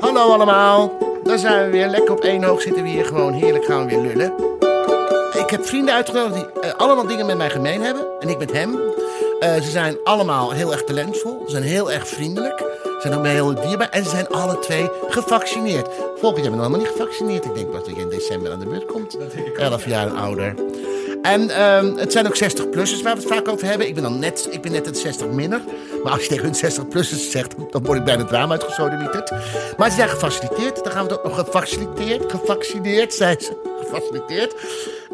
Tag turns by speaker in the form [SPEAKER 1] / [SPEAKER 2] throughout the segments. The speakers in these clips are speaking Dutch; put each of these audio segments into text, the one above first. [SPEAKER 1] Hallo allemaal, daar zijn we weer. Lekker op één hoog zitten we hier gewoon. Heerlijk gaan we weer lullen. Ik heb vrienden uitgenodigd die eh, allemaal dingen met mij gemeen hebben. En ik met hem. Eh, ze zijn allemaal heel erg talentvol. Ze zijn heel erg vriendelijk. Ze zijn ook mij heel dierbaar. En ze zijn alle twee gevaccineerd. Volgend jaar ben ik helemaal niet gevaccineerd. Ik denk pas dat je in december aan de beurt komt. Elf jaar ouder. En ehm, het zijn ook 60-plussers waar we het vaak over hebben. Ik ben dan net, ik ben net het 60-minner. Maar als je tegen hun 60-plussers zegt, dan word ik bijna het raam uitgesodemieterd. Maar ze zijn gefaciliteerd. Dan gaan we het ook nog gefaciliteerd. Gefaccineerd zijn ze. Gefaciliteerd.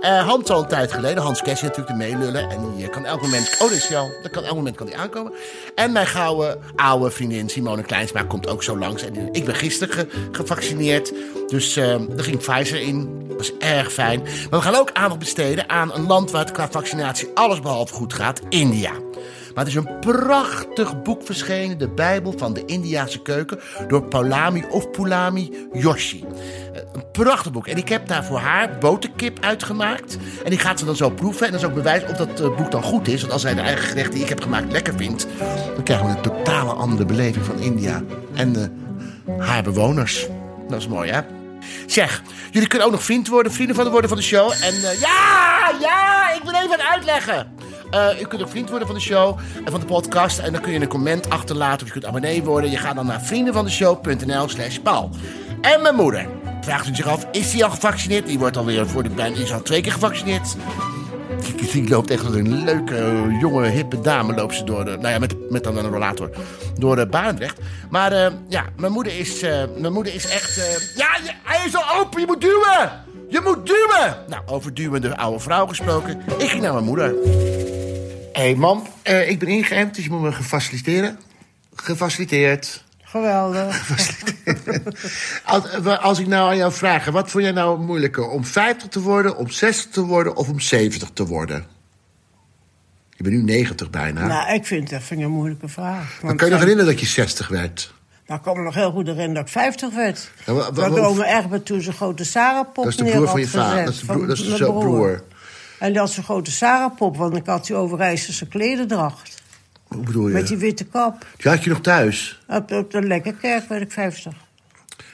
[SPEAKER 1] Eh Hans al een tijd geleden. Hans Kessie natuurlijk de meelullen. En die eh, kan elk moment... Oh, dat is jou. Dat kan elk moment kan die aankomen. En mijn gouden oude vriendin Simone Kleinsma komt ook zo langs. En ik ben gisteren ge- gevaccineerd. Dus eh er ging Pfizer in. Dat is erg fijn. Maar we gaan ook aandacht besteden aan een land waar het qua vaccinatie alles behalve goed gaat. India. Maar het is een prachtig boek verschenen, de Bijbel van de Indiase keuken, door Paulami of Pulami Yoshi. Eh, Een prachtig boek. En ik heb daar voor haar boterkip uitgemaakt. En die gaat ze dan zo proeven. En dan is ook bewijs of dat eh, boek dan goed is. Want als zij de eigen gerechten die ik heb gemaakt lekker vindt, dan krijgen we een totale andere beleving van India en eh, haar bewoners. Dat is mooi, hè? Zeg, jullie kunnen ook nog vriend worden, vrienden van de worden van de show. En eh, ja, ja, ik wil even wat uitleggen. Eh, u kunt ook vriend worden van de show en van de podcast. En dan kun je een comment achterlaten of je kunt abonnee worden. Je gaat dan naar vriendenvandeshow.nl slash paal. En mijn moeder. Vraagt u zich af, is die al gevaccineerd? Die wordt alweer voor de pijn, is al twee keer gevaccineerd. Die, die loopt echt als een leuke, eh, jonge, hippe dame. Loopt ze door de, nou ja, met, met dan een rollator. Door de Barendrecht. Maar eh, ja, mijn moeder is, eh, mijn moeder is echt... eh, ja, je- hij is al open, je moet duwen! Je moet duwen! Nou, over duwende oude vrouw gesproken. Ik ging naar mijn moeder. Hé hey mam, eh, ik ben ingeënt, dus je moet me gefaciliteren. Gefaciliteerd.
[SPEAKER 2] Geweldig.
[SPEAKER 1] Als, eh, als ik nou aan jou vraag, wat vond jij nou moeilijker? Om 50 te worden, om 60 te worden of om 70 te worden? Je bent nu 90 bijna.
[SPEAKER 2] Nou, ik vind dat vind ik een moeilijke vraag.
[SPEAKER 1] Dan kan
[SPEAKER 2] Want
[SPEAKER 1] je nog
[SPEAKER 2] dan-
[SPEAKER 1] herinneren dat je 60 werd.
[SPEAKER 2] Nou, ik kan me nog heel goed herinneren dat ik 50 werd.
[SPEAKER 1] Ja, wa- wa-
[SPEAKER 2] dat ik
[SPEAKER 1] wa-
[SPEAKER 2] oma Egbert toen zijn grote Sarah-pop
[SPEAKER 1] Dat is de
[SPEAKER 2] neer
[SPEAKER 1] broer
[SPEAKER 2] had
[SPEAKER 1] van je vader.
[SPEAKER 2] gezet,
[SPEAKER 1] Dat is de
[SPEAKER 2] van
[SPEAKER 1] broer- dat is de
[SPEAKER 2] mijn
[SPEAKER 1] zo- broer.
[SPEAKER 2] En dat is een grote Sarah-pop, want ik had die Overijsselse klederdracht.
[SPEAKER 1] Hoe bedoel je?
[SPEAKER 2] Met die witte kap.
[SPEAKER 1] Die had je nog thuis.
[SPEAKER 2] Op, op de Lekkerkerk werd ik 50.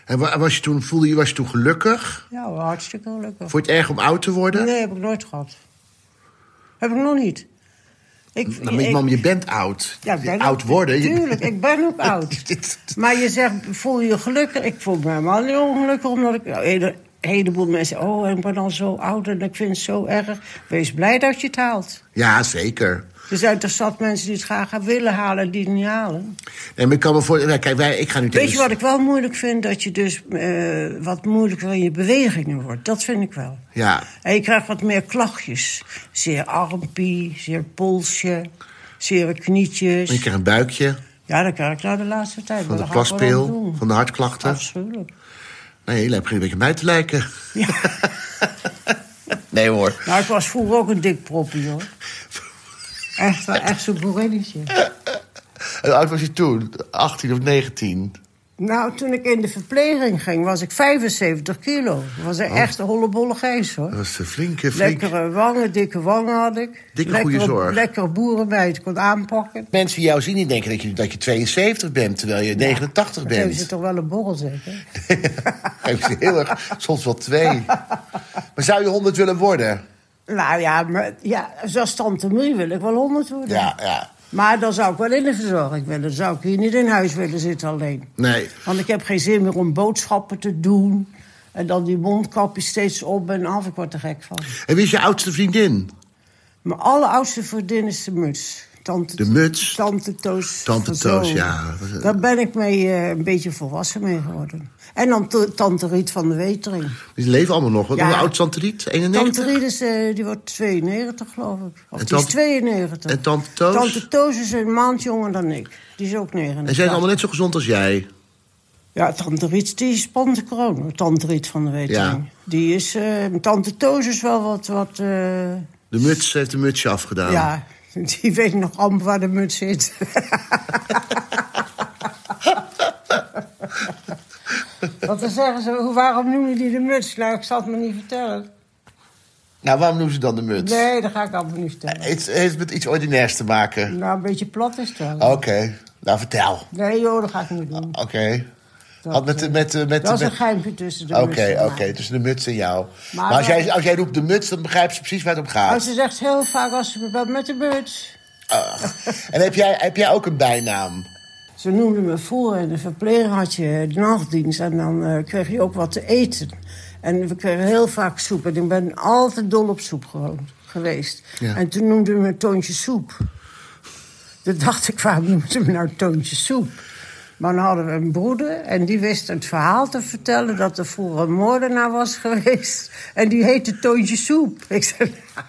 [SPEAKER 1] En wa- was je toen, voelde je, was je toen gelukkig?
[SPEAKER 2] Ja, hartstikke gelukkig.
[SPEAKER 1] Vond je het erg om oud te worden?
[SPEAKER 2] Nee, heb ik nooit gehad. Heb ik nog niet. Ik,
[SPEAKER 1] Nou, maar
[SPEAKER 2] ik-
[SPEAKER 1] mam, je bent oud.
[SPEAKER 2] Ja, ik ben
[SPEAKER 1] oud
[SPEAKER 2] ook-
[SPEAKER 1] worden. je-
[SPEAKER 2] Tuurlijk, ik ben ook oud.
[SPEAKER 1] Dit-
[SPEAKER 2] maar je zegt, voel je je gelukkig? Ik voel me helemaal niet ongelukkig, omdat ik... nou, Een heleboel mensen oh, ik ben al zo oud en ik vind het zo erg. Wees blij dat je het haalt.
[SPEAKER 1] Ja, zeker.
[SPEAKER 2] Er zijn toch zat mensen die het graag willen halen en die het niet halen.
[SPEAKER 1] Nee, maar ik kan me voor... Nou, kijk, wij, ik ga nu tegen...
[SPEAKER 2] Weet je wat ik wel moeilijk vind? Dat je dus eh, wat moeilijker in je bewegingen wordt. Dat vind ik wel.
[SPEAKER 1] Ja,
[SPEAKER 2] En je krijgt wat meer klachtjes. Zeer armpie, zeer polsje, zere knietjes.
[SPEAKER 1] en je krijgt een buikje
[SPEAKER 2] Ja, dat krijg ik nou de laatste tijd.
[SPEAKER 1] van
[SPEAKER 2] maar
[SPEAKER 1] de
[SPEAKER 2] daar ga ik wel aan
[SPEAKER 1] plaspeel,
[SPEAKER 2] doen.
[SPEAKER 1] van de hartklachten.
[SPEAKER 2] Afschuwelijk.
[SPEAKER 1] Nee, je begint een beetje op mij te lijken.
[SPEAKER 2] Ja.
[SPEAKER 1] Nee hoor.
[SPEAKER 2] Nou, ik was vroeger ook een dik proppie, hoor. Echt, wel, echt zo'n boerinnetje.
[SPEAKER 1] Hoe oud was je toen? 18 of 19?
[SPEAKER 2] Nou, toen ik in de verpleging ging, was ik 75 kilo. Dat was
[SPEAKER 1] Oh.
[SPEAKER 2] een echte hollebolle geest, hoor.
[SPEAKER 1] Dat was eh, een flinke, flinke...
[SPEAKER 2] Lekkere wangen, dikke wangen had ik.
[SPEAKER 1] Dikke
[SPEAKER 2] lekkere,
[SPEAKER 1] goede zorg.
[SPEAKER 2] Lekkere boerenmeid, kon aanpakken.
[SPEAKER 1] Mensen die jou zien, die denken dat je, dat je 72 bent, terwijl je 89
[SPEAKER 2] Dat heeft ze
[SPEAKER 1] bent.
[SPEAKER 2] toch wel een borrel, zeker?
[SPEAKER 1] Geef ze heel erg, soms wel twee. Maar zou je 100 willen worden?
[SPEAKER 2] Nou ja, maar, ja, zoals tante Mie wil ik wel 100 worden.
[SPEAKER 1] Ja, ja.
[SPEAKER 2] Maar dan zou ik wel in de verzorging willen. Dan zou ik hier niet in huis willen zitten alleen.
[SPEAKER 1] Nee.
[SPEAKER 2] Want ik heb geen zin meer om boodschappen te doen. En dan die mondkapjes steeds op en af. Ik word er gek van.
[SPEAKER 1] En wie is je oudste vriendin?
[SPEAKER 2] Mijn alleroudste vriendin is de muts. Tante,
[SPEAKER 1] De muts?
[SPEAKER 2] Tante Toos.
[SPEAKER 1] Tante
[SPEAKER 2] van
[SPEAKER 1] Toos,
[SPEAKER 2] Zoon.
[SPEAKER 1] ja. Dat is-
[SPEAKER 2] Daar ben ik mee eh, een beetje volwassen mee geworden. En dan t- Tante Riet van de Wetering.
[SPEAKER 1] Die leven allemaal nog. Wat
[SPEAKER 2] Ja.
[SPEAKER 1] Hoe oud is Tante Riet? 91?
[SPEAKER 2] Tante Riet is, eh, die wordt 92, geloof ik. Of
[SPEAKER 1] En
[SPEAKER 2] die is
[SPEAKER 1] tante-
[SPEAKER 2] 92.
[SPEAKER 1] en tante Toos?
[SPEAKER 2] Tante Toos is een maand jonger dan ik. Die is ook 99.
[SPEAKER 1] En zijn ze allemaal net zo gezond als jij?
[SPEAKER 2] Ja, tante Riet die spant de kroon. Tante Riet van de Wetering.
[SPEAKER 1] Ja.
[SPEAKER 2] Die is... eh, tante Toos is wel wat... wat eh,
[SPEAKER 1] De muts heeft een mutsje afgedaan.
[SPEAKER 2] Ja, die weet nog amper waar de muts zit. Want dan zeggen ze, hoe- waarom noemen die de muts? Nou, ik zal het me niet vertellen.
[SPEAKER 1] Nou, waarom noemen ze dan de muts?
[SPEAKER 2] Nee, dat ga ik allemaal niet vertellen.
[SPEAKER 1] Het heeft met iets ordinairs te maken. Oh.
[SPEAKER 2] Nou, een beetje plat is het wel.
[SPEAKER 1] Oké, nou vertel.
[SPEAKER 2] Nee joh, dat ga ik niet doen.
[SPEAKER 1] Oké.
[SPEAKER 2] Dat,
[SPEAKER 1] Want met, de-
[SPEAKER 2] eh,
[SPEAKER 1] met, de- met,
[SPEAKER 2] dat is
[SPEAKER 1] met,
[SPEAKER 2] een geheimje tussen de
[SPEAKER 1] Oké,
[SPEAKER 2] mussen,
[SPEAKER 1] oké,
[SPEAKER 2] maar-
[SPEAKER 1] tussen de muts en jou. Maar,
[SPEAKER 2] Maar
[SPEAKER 1] als,
[SPEAKER 2] dan-
[SPEAKER 1] jij, als jij roept de muts, dan begrijpt ze precies waar het om gaat.
[SPEAKER 2] Maar Oh, ze zegt heel vaak als ze me belt met de buurt.
[SPEAKER 1] Ach. En heb jij, heb jij ook een bijnaam?
[SPEAKER 2] Ze noemden me voor in de verpleger had je de nachtdienst en dan eh, kreeg je ook wat te eten. En we kregen heel vaak soep en ik ben altijd dol op soep gewoon geweest.
[SPEAKER 1] Ja.
[SPEAKER 2] En toen noemden we me Toontje Soep. Toen dacht ik, waarom noemen ze me nou Toontje Soep? Maar dan hadden we een broeder en die wist het verhaal te vertellen... dat er vroeger een moordenaar was geweest. En die heette Toontje Soep. Ik zei, nou,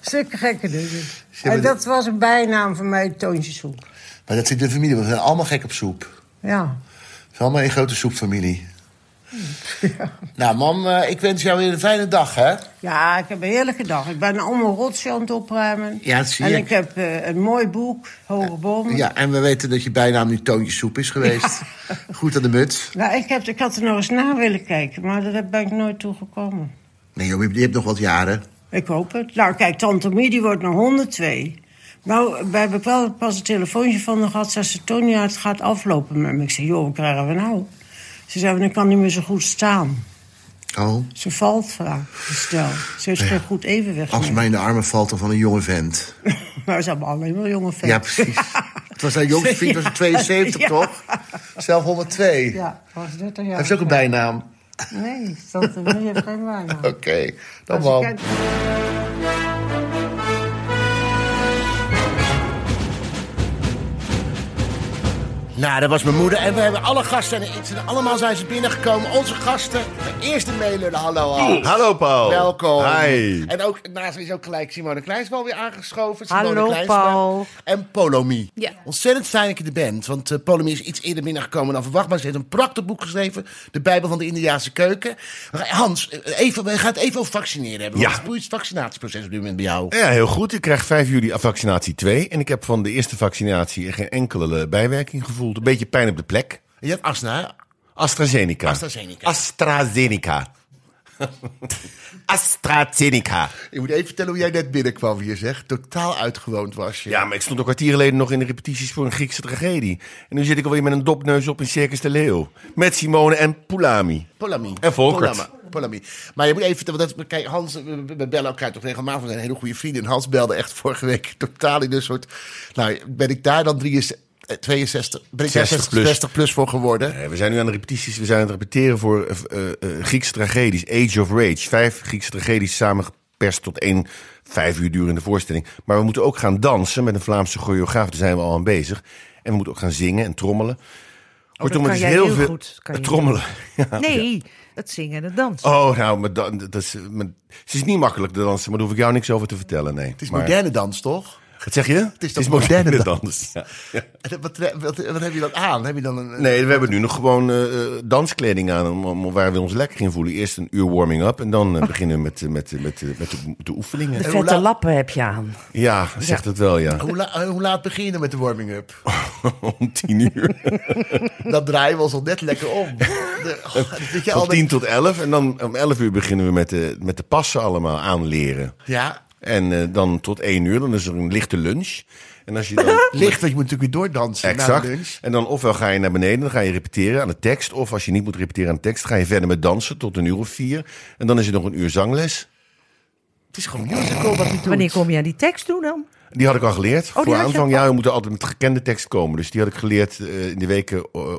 [SPEAKER 2] stukken gekke dingen.
[SPEAKER 1] maar
[SPEAKER 2] En dat was een bijnaam van mij, Toontje Soep.
[SPEAKER 1] Maar dat zit in de familie, want we zijn allemaal gek op soep.
[SPEAKER 2] Ja.
[SPEAKER 1] We zijn allemaal een grote soepfamilie. Nou, mam, eh, ik wens jou weer een fijne dag, hè?
[SPEAKER 2] Ja, ik heb een heerlijke dag. Ik ben allemaal rotzooi aan het opruimen.
[SPEAKER 1] Ja, dat zie
[SPEAKER 2] en
[SPEAKER 1] ik.
[SPEAKER 2] En ik heb eh, een mooi boek, Hoge Bomen.
[SPEAKER 1] Ja, en we weten dat je bijnaam nu Toontje Soep is geweest. Goed aan de muts.
[SPEAKER 2] Nou, ik, heb, ik had er nog eens naar willen kijken, maar daar ben ik nooit toe gekomen.
[SPEAKER 1] Nee, joh, je hebt- je hebt nog wat jaren.
[SPEAKER 2] Ik hoop het. Nou, kijk, Tante Mie, die wordt nog 102. Nou, we hebben wel pas een telefoontje van haar gehad. Zei ze, Tonia, het gaat aflopen met me. Ik zei, joh, wat krijgen we nou? Ze zei, dan kan niet meer zo goed staan.
[SPEAKER 1] Oh,
[SPEAKER 2] Ze valt vaak, stel. Ze heeft geen goed evenwicht
[SPEAKER 1] als
[SPEAKER 2] meer.
[SPEAKER 1] het mij in de armen valt dan van een jonge vent.
[SPEAKER 2] Maar ze hebben alleen maar jonge venten.
[SPEAKER 1] Ja, precies. Het was haar jongste vriend, was 72,
[SPEAKER 2] Ja.
[SPEAKER 1] toch? Zelf 102.
[SPEAKER 2] Ja, was 30 jaar.
[SPEAKER 1] Heeft ze ook een
[SPEAKER 3] ehm,
[SPEAKER 1] Oh, bijnaam?
[SPEAKER 2] Nee, Tante Mie heeft geen bijnaam.
[SPEAKER 1] Oké, dan mam.
[SPEAKER 3] Nou, dat was mijn moeder. En we hebben alle gasten. En ze- allemaal zijn ze binnengekomen. Onze gasten. De eerste meelullen. Hallo al.
[SPEAKER 4] Hallo
[SPEAKER 3] Oh,
[SPEAKER 4] Paul.
[SPEAKER 3] Welkom.
[SPEAKER 4] Hi.
[SPEAKER 3] En ook naast is ook gelijk Simone Kleinsman weer aangeschoven. Simone
[SPEAKER 2] Hallo,
[SPEAKER 3] Kleinsman.
[SPEAKER 2] Paul.
[SPEAKER 3] En Polomie.
[SPEAKER 5] Ja.
[SPEAKER 3] Ontzettend fijn dat je er bent. Want eh Polomie is iets eerder binnengekomen dan verwacht. Maar ze heeft een prachtig boek geschreven. De Bijbel van de Indiaanse keuken. Hans, eh, even, we gaan het even over vaccineren hebben.
[SPEAKER 4] Ja.
[SPEAKER 3] Want Hoe is het vaccinatieproces op dit moment bij jou?
[SPEAKER 4] Ja, heel goed. Ik krijg 5 juli vaccinatie 2. En ik heb van de eerste vaccinatie geen enkele eh, bijwerking gevoeld. Een beetje pijn op de plek.
[SPEAKER 3] Je hebt astma. hè?
[SPEAKER 4] AstraZeneca.
[SPEAKER 3] AstraZeneca.
[SPEAKER 4] AstraZeneca. AstraZeneca.
[SPEAKER 1] Ik moet even vertellen hoe jij net binnenkwam hier, zeg. Totaal uitgewoond was je.
[SPEAKER 4] Ja, maar ik stond een kwartier geleden nog in de repetities voor een Griekse tragedie. En nu zit ik alweer met een dopneus op in Circus de Leeuw. Met Simone en Poulami.
[SPEAKER 3] Polami.
[SPEAKER 4] En Volkert.
[SPEAKER 3] Polama- Polami. Maar je moet even... vertellen, Want dat, kijk, Hans, we, we- we bellen elkaar toch regelmatig. We zijn hele goede vrienden. En Hans belde echt vorige week totaal in een soort... Nou, ben ik daar dan 63, eh, 62... Ben ik daar
[SPEAKER 4] 60
[SPEAKER 3] 60
[SPEAKER 4] plus.
[SPEAKER 3] 60 plus voor geworden?
[SPEAKER 4] Eh, We zijn nu aan de repetities, we zijn aan het repeteren voor eh, eh, eh, Griekse tragedies. Age of Rage. Vijf Griekse tragedies samengeperst tot één vijf uur durende voorstelling. Maar we moeten ook gaan dansen met een Vlaamse choreograaf. Daar zijn we al aan bezig. En we moeten ook gaan zingen en trommelen. Kortom,
[SPEAKER 5] dat
[SPEAKER 4] het
[SPEAKER 5] Oh, kan
[SPEAKER 4] is
[SPEAKER 5] jij heel goed. Dat kan
[SPEAKER 4] Eh,
[SPEAKER 5] je
[SPEAKER 4] trommelen.
[SPEAKER 5] Nee, het zingen en het dansen.
[SPEAKER 4] Oh, nou, maar dan, dat is, eh, maar, het is niet makkelijk de dansen, maar daar hoef ik jou niks over te vertellen, nee.
[SPEAKER 3] Het is
[SPEAKER 4] maar,
[SPEAKER 3] moderne dans, toch?
[SPEAKER 4] Wat zeg je? Het
[SPEAKER 3] toch moderne
[SPEAKER 4] dans. Ja.
[SPEAKER 3] En Wat, wat, wat heb je dan aan? Heb je dan een...
[SPEAKER 4] Nee, we hebben nu nog gewoon eh, eh, danskleding aan, om, om- waar we ons lekker in voelen. Eerst een uur warming up en
[SPEAKER 3] Oh.
[SPEAKER 4] dan eh, beginnen we met, eh, met, eh, met, eh, met, de, met de oefeningen.
[SPEAKER 3] hoe
[SPEAKER 5] Vette
[SPEAKER 3] laat-
[SPEAKER 5] lappen heb je aan.
[SPEAKER 4] Ja, zegt het wel, ja.
[SPEAKER 3] Hoe, la- eh, hoe laat begin je met de warming-up? Oh.
[SPEAKER 4] Om tien uur.
[SPEAKER 3] Dan draaien we ons al net lekker om. De, oh, dat je al
[SPEAKER 4] Van
[SPEAKER 3] met-
[SPEAKER 4] tien tot elf. En dan om elf uur beginnen we met de, met de passen allemaal aanleren.
[SPEAKER 3] Ja,
[SPEAKER 4] En eh, dan tot één uur, dan is er een lichte lunch. En als je dan...
[SPEAKER 3] licht, want je moet natuurlijk weer doordansen na de lunch.
[SPEAKER 4] Exact. En dan ofwel ga je naar beneden, dan ga je repeteren aan de tekst. Of als je niet moet repeteren aan de tekst, ga je verder met dansen tot een uur of vier. En dan is er nog een uur zangles.
[SPEAKER 3] Het is gewoon musical wat je doet.
[SPEAKER 5] Wanneer kom je aan die tekst toe dan?
[SPEAKER 4] Die had ik al geleerd.
[SPEAKER 5] Oh, had
[SPEAKER 4] Voor
[SPEAKER 5] je
[SPEAKER 4] aanvang,
[SPEAKER 5] al-
[SPEAKER 4] ja, we moeten altijd met gekende tekst komen. Dus die had ik geleerd eh, in, de weken, eh,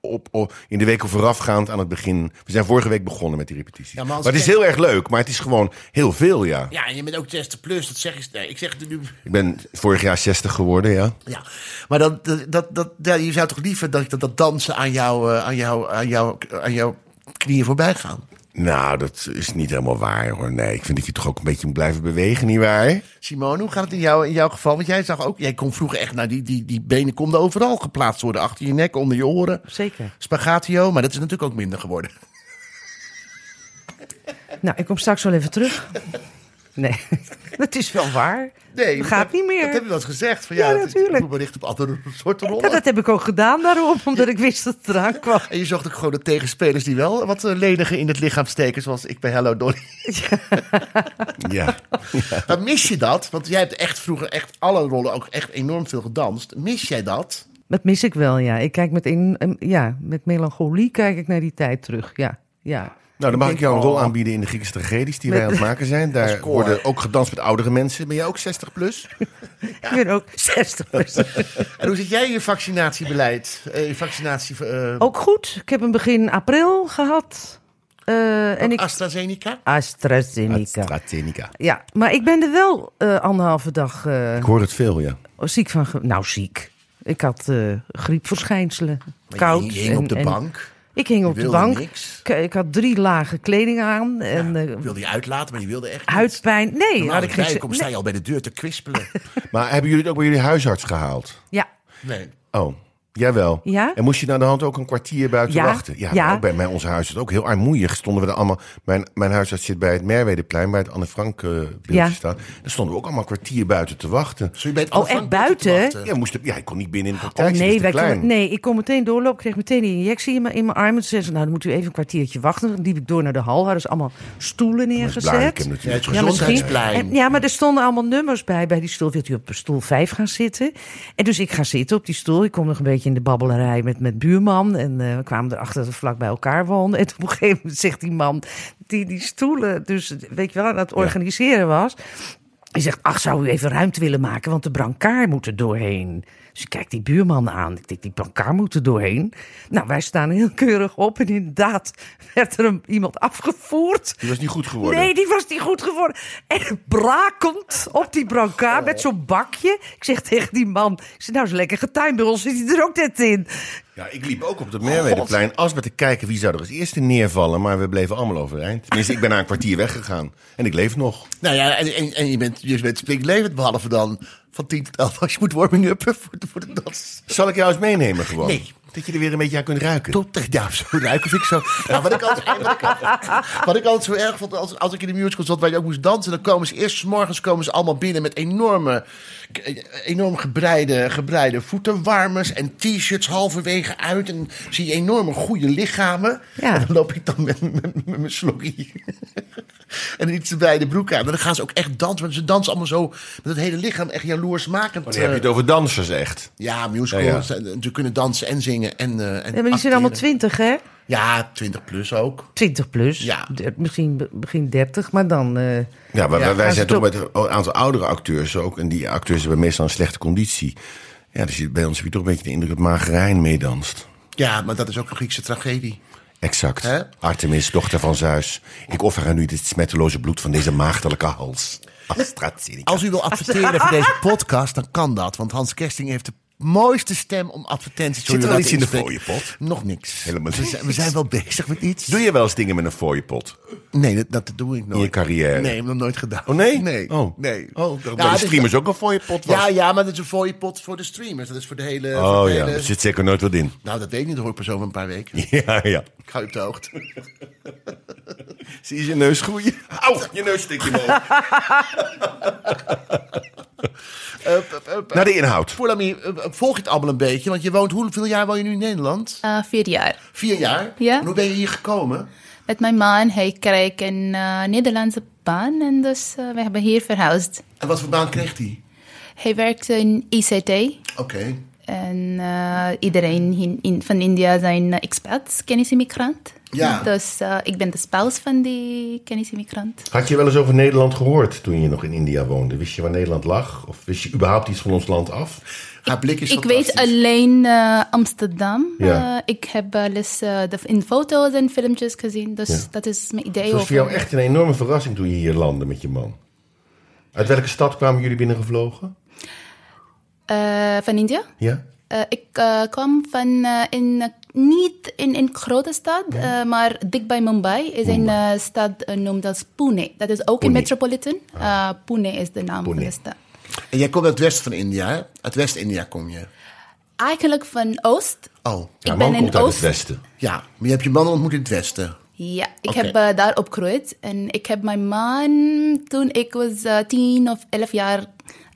[SPEAKER 4] op, op- in de weken voorafgaand aan het begin. We zijn vorige week begonnen met die repetities.
[SPEAKER 3] Ja, maar
[SPEAKER 4] maar,
[SPEAKER 3] als
[SPEAKER 4] het is
[SPEAKER 3] je-
[SPEAKER 4] heel erg leuk, maar het is gewoon heel veel, ja.
[SPEAKER 3] Ja, en je bent ook 60 plus, dat zeg je... Nee, ik zeg het nu...
[SPEAKER 4] Ik ben vorig jaar 60 geworden, ja.
[SPEAKER 3] Ja, maar dan, dat, dat, dat, ja, je zou toch liever dat, dat, dat dansen aan jouw eh, aan jou, aan jou, aan jou knieën voorbij gaan?
[SPEAKER 4] Nou, dat is niet helemaal waar hoor. Nee, ik vind dat je toch ook een beetje moet blijven bewegen, nietwaar?
[SPEAKER 3] Simone, hoe gaat het in, jou, in jouw geval? Want jij zag ook, jij kon vroeger echt, nou, die, die, die benen konden overal geplaatst worden. Achter je nek, onder je oren.
[SPEAKER 5] Zeker.
[SPEAKER 3] Spagatio, maar dat is natuurlijk ook minder geworden.
[SPEAKER 5] Nou, ik kom straks wel even terug. Nee, dat is wel waar.
[SPEAKER 3] Nee,
[SPEAKER 5] dat gaat
[SPEAKER 3] dat-
[SPEAKER 5] niet meer.
[SPEAKER 3] Dat heb je wel eens gezegd. Van, ja,
[SPEAKER 5] Ja,
[SPEAKER 3] het is-
[SPEAKER 5] natuurlijk.
[SPEAKER 3] Ik moet me richten op andere soorten
[SPEAKER 5] Ja,
[SPEAKER 3] rollen.
[SPEAKER 5] dat heb ik ook gedaan daarom, omdat ik wist dat het eraan kwam.
[SPEAKER 3] En je zocht ook gewoon de tegenspelers die wel wat eh, lenigen in het lichaam steken. Zoals ik bij Hello Dolly.
[SPEAKER 4] Ja.
[SPEAKER 3] Maar mis je dat? Want jij hebt echt vroeger echt alle rollen ook echt enorm veel gedanst. Mis jij dat?
[SPEAKER 5] Dat mis ik wel, ja. Ik kijk met, in, em, ja, met melancholie kijk ik naar die tijd terug, ja. ja.
[SPEAKER 4] Nou, dan mag ik
[SPEAKER 5] denk,
[SPEAKER 4] jou een rol
[SPEAKER 5] oh.
[SPEAKER 4] aanbieden in de Griekse tragedies die
[SPEAKER 5] Met-
[SPEAKER 4] wij aan het maken zijn. Daar
[SPEAKER 3] koor.
[SPEAKER 4] worden ook gedanst met oudere mensen. Ben jij ook 60 plus?
[SPEAKER 5] Ik ben ook 60.
[SPEAKER 3] En hoe zit jij in je vaccinatiebeleid? Eh, je vaccinatie... eh,
[SPEAKER 5] Ook goed. Ik heb een begin april gehad. Eh, en ik...
[SPEAKER 3] AstraZeneca?
[SPEAKER 5] AstraZeneca.
[SPEAKER 4] AstraZeneca.
[SPEAKER 5] Ja, maar ik ben er wel eh, anderhalve dag eh,
[SPEAKER 4] Ik hoor het veel, ja.
[SPEAKER 5] ziek van. ge- Nou, ziek. Ik had eh, griepverschijnselen.
[SPEAKER 3] Maar
[SPEAKER 5] Koud.
[SPEAKER 3] Je hing
[SPEAKER 5] en-
[SPEAKER 3] op de
[SPEAKER 5] en-
[SPEAKER 3] bank.
[SPEAKER 5] Ik hing
[SPEAKER 3] Je
[SPEAKER 5] op de
[SPEAKER 3] wilde
[SPEAKER 5] bank.
[SPEAKER 3] niks.
[SPEAKER 5] Ik, ik had drie lagen kleding aan. En eh,
[SPEAKER 3] Ik wilde je uitlaten, maar je wilde echt niet.
[SPEAKER 5] huidpijn. Nee,
[SPEAKER 3] Normaal
[SPEAKER 5] had
[SPEAKER 3] als
[SPEAKER 5] ik
[SPEAKER 3] ik
[SPEAKER 5] geen-
[SPEAKER 3] bijkom, sta
[SPEAKER 5] nee.
[SPEAKER 3] je al bij de deur te kwispelen.
[SPEAKER 4] Maar hebben jullie het ook bij jullie huisarts gehaald?
[SPEAKER 5] Ja,
[SPEAKER 3] Nee.
[SPEAKER 4] Oh, jawel.
[SPEAKER 5] Ja?
[SPEAKER 4] En moest je nou de hand ook een kwartier buiten
[SPEAKER 5] Ja,
[SPEAKER 4] wachten? Ja,
[SPEAKER 5] ja.
[SPEAKER 4] ook bij mijn, onze huisarts ook heel armoeig. Stonden we er allemaal. Mijn, mijn huisarts zit bij het Merwedeplein, waar het Anne Frank eh beeldje
[SPEAKER 5] Ja.
[SPEAKER 4] staat. Daar stonden we ook allemaal een kwartier buiten te wachten.
[SPEAKER 3] Zo je bent
[SPEAKER 5] Oh, echt buiten?
[SPEAKER 4] Ja, moest er- ja, ik kon niet binnen in de
[SPEAKER 5] Oh
[SPEAKER 4] praktijk.
[SPEAKER 3] dus
[SPEAKER 4] ze
[SPEAKER 5] nee,
[SPEAKER 4] is te
[SPEAKER 5] wij
[SPEAKER 4] klein.
[SPEAKER 5] kon- nee, ik kon meteen doorlopen. Ik kreeg meteen die injectie in mijn, in mijn arm. En toen zei ze, nou, dan moet u even een kwartiertje wachten. Dan liep ik door naar de hal. Hadden ze allemaal stoelen
[SPEAKER 4] Dat is belangrijk,
[SPEAKER 5] neergezet.
[SPEAKER 4] hem natuurlijk.
[SPEAKER 3] Ja, gezondheidsplein.
[SPEAKER 5] En- ja, maar er stonden allemaal nummers bij, bij die stoel. Wilt u op stoel 5 gaan zitten? En dus ik ga zitten op die stoel. Ik kom nog een beetje in de babbelerij met, met buurman. En eh, we kwamen erachter dat we vlak bij elkaar woonden. En toen op een gegeven moment zegt die man die die stoelen, dus weet je wel, aan het organiseren was. Hij zegt, ach, zou u even ruimte willen maken, want de brancard moet er doorheen. Dus ik kijk die buurman aan. Ik denk, die brancard moet er doorheen. Nou, wij staan heel keurig op. En inderdaad werd er een, iemand afgevoerd.
[SPEAKER 4] Die was niet goed geworden.
[SPEAKER 5] Nee, die was niet goed geworden. En brakend op die brancard met zo'n bakje. Ik zeg tegen die man, ik zeg, nou is lekker getuind bij ons, zit hij er ook net in.
[SPEAKER 4] Ja, ik liep ook op
[SPEAKER 5] Oh,
[SPEAKER 4] het Merwedeplein als we te kijken wie zou er als eerste neervallen. Maar we bleven allemaal overeind. Tenminste, ik ben na een kwartier weggegaan. En ik leef nog.
[SPEAKER 3] Nou ja, en, en, en je bent, je bent springlevend, behalve dan van 10 tot 11 als je moet warming-uppen voor, de- voor de dans.
[SPEAKER 4] Zal ik jou eens meenemen gewoon?
[SPEAKER 3] Nee.
[SPEAKER 4] Dat je er weer een beetje aan kunt ruiken.
[SPEAKER 3] Tot, ja, zo ruiken vind ik zo. Nou, wat, ik altijd, wat, ik altijd, wat ik altijd zo erg vond, als, als ik in de musical zat waar je ook moest dansen, dan komen ze eerst 's morgens komen ze allemaal binnen met enorme, eh, enorm gebreide, gebreide voetenwarmers en t-shirts halverwege uit. En zie je enorme goede lichamen.
[SPEAKER 5] Ja.
[SPEAKER 3] En dan loop ik dan met, met, met mijn slokkie en iets te breide broek aan. Maar dan gaan ze ook echt dansen. want Ze dansen allemaal zo met het hele lichaam, echt jaloersmakend. eh,
[SPEAKER 4] Dan heb je het over dansers echt.
[SPEAKER 3] Ja, musicals. eh,
[SPEAKER 4] Ja, ja.
[SPEAKER 3] Ze ze kunnen dansen en zingen. En, eh, en
[SPEAKER 5] Ja, maar die zijn
[SPEAKER 3] acteren.
[SPEAKER 5] allemaal twintig, hè?
[SPEAKER 3] Ja, 20 plus ook.
[SPEAKER 5] 20 plus,
[SPEAKER 3] Ja.
[SPEAKER 5] De- misschien be- begin 30, maar dan... eh,
[SPEAKER 4] Ja, maar
[SPEAKER 3] Ja,
[SPEAKER 4] wij- wij
[SPEAKER 5] gaan
[SPEAKER 4] zijn
[SPEAKER 5] ze
[SPEAKER 4] toch
[SPEAKER 5] toch-
[SPEAKER 4] met een aantal oudere acteurs ook. En die acteurs hebben meestal een slechte conditie. Ja, dus je- bij ons heb je toch een beetje de indruk dat Magerijn meedanst.
[SPEAKER 3] Ja, maar dat is ook een Griekse tragedie.
[SPEAKER 4] Exact.
[SPEAKER 3] Hè?
[SPEAKER 4] Artemis, dochter van Zeus. Ik offer haar nu dit smetteloze bloed van deze maagdelijke hals. AstraZeneca.
[SPEAKER 3] Als u wil adverteren voor deze podcast, dan kan dat. Want Hans Kersting heeft de mooiste stem om advertenties te
[SPEAKER 4] Zit er al
[SPEAKER 3] laten
[SPEAKER 4] iets in de
[SPEAKER 3] inspreken.
[SPEAKER 4] fooiepot?
[SPEAKER 3] Nog niks.
[SPEAKER 4] Helemaal
[SPEAKER 3] we,
[SPEAKER 4] niks.
[SPEAKER 3] zijn, we zijn wel bezig met iets.
[SPEAKER 4] Doe je wel eens dingen met een fooiepot?
[SPEAKER 3] Nee, dat, dat doe ik nooit.
[SPEAKER 4] In je carrière?
[SPEAKER 3] Nee, ik heb dat nooit gedaan.
[SPEAKER 4] Oh, nee?
[SPEAKER 3] Nee.
[SPEAKER 4] Oh.
[SPEAKER 3] nee.
[SPEAKER 4] Oh, ik dacht bij
[SPEAKER 3] het
[SPEAKER 4] de
[SPEAKER 3] is-
[SPEAKER 4] streamers ook een fooiepot was.
[SPEAKER 3] Ja, ja, maar dat is een fooiepot voor de streamers. Dat is voor de hele... voor
[SPEAKER 4] Oh
[SPEAKER 3] de
[SPEAKER 4] ja,
[SPEAKER 3] hele-
[SPEAKER 4] er zit zeker nooit wat in.
[SPEAKER 3] Nou, dat weet ik niet. Dat hoor ik pas over een paar weken.
[SPEAKER 4] Ja, ja.
[SPEAKER 3] Ik ga u op de hoogte.
[SPEAKER 4] Zie je je neus groeien? Auw, je neus steekt je omhoog. Naar de inhoud.
[SPEAKER 3] Poelami, eh, volg je het allemaal een beetje? Want je woont... Hoeveel jaar woon je nu in Nederland?
[SPEAKER 6] Eh, vier jaar.
[SPEAKER 3] Vier jaar?
[SPEAKER 6] Ja.
[SPEAKER 3] En hoe ben je hier gekomen?
[SPEAKER 6] Met mijn man, hij kreeg een eh, Nederlandse baan en dus eh, we hebben hier verhuisd.
[SPEAKER 3] En wat voor baan kreeg hij?
[SPEAKER 6] Hij werkte in ICT
[SPEAKER 3] Oké.
[SPEAKER 6] en eh, iedereen in, in- van India zijn eh, expats, kennisimmigrant.
[SPEAKER 3] Ja.
[SPEAKER 6] Dus eh, ik ben de spouse van die kennisimmigrant.
[SPEAKER 4] Had je wel eens over Nederland gehoord toen je nog in India woonde? Wist je waar Nederland lag? Of wist je überhaupt iets van ons land af?
[SPEAKER 3] Haar blik is
[SPEAKER 6] Ik weet
[SPEAKER 3] fantastisch.
[SPEAKER 6] alleen eh, Amsterdam.
[SPEAKER 4] Ja.
[SPEAKER 6] Eh, ik heb wel eens eh, de, in foto's en filmpjes gezien, dus
[SPEAKER 4] Ja.
[SPEAKER 6] dat is mijn idee
[SPEAKER 4] Het was
[SPEAKER 6] over.
[SPEAKER 4] voor jou echt een enorme verrassing toen je hier landde met je man. Uit welke stad kwamen jullie binnengevlogen?
[SPEAKER 6] Eh, van India?
[SPEAKER 4] Ja?
[SPEAKER 6] Eh, ik eh, kwam van eh, in, eh, niet in een grote stad, eh, maar dichtbij Mumbai is een eh, stad eh, noemd als Pune. Dat is ook in
[SPEAKER 4] Pune. Ah.
[SPEAKER 6] metropolitan. Eh, Pune is de naam van
[SPEAKER 4] Pune.
[SPEAKER 6] de stad.
[SPEAKER 3] En jij komt uit het westen van India, hè? Uit West-India kom je.
[SPEAKER 6] Eigenlijk van Oost.
[SPEAKER 3] Oh,
[SPEAKER 4] Ja,
[SPEAKER 6] ik
[SPEAKER 4] man
[SPEAKER 6] ben in
[SPEAKER 4] komt uit het
[SPEAKER 6] Oost.
[SPEAKER 4] westen.
[SPEAKER 3] ja. Maar je hebt je man ontmoet in het westen.
[SPEAKER 6] Ja, ik
[SPEAKER 3] Oké.
[SPEAKER 6] heb eh, daar opgegroeid. En ik heb mijn man, toen ik was eh, 10 of 11 jaar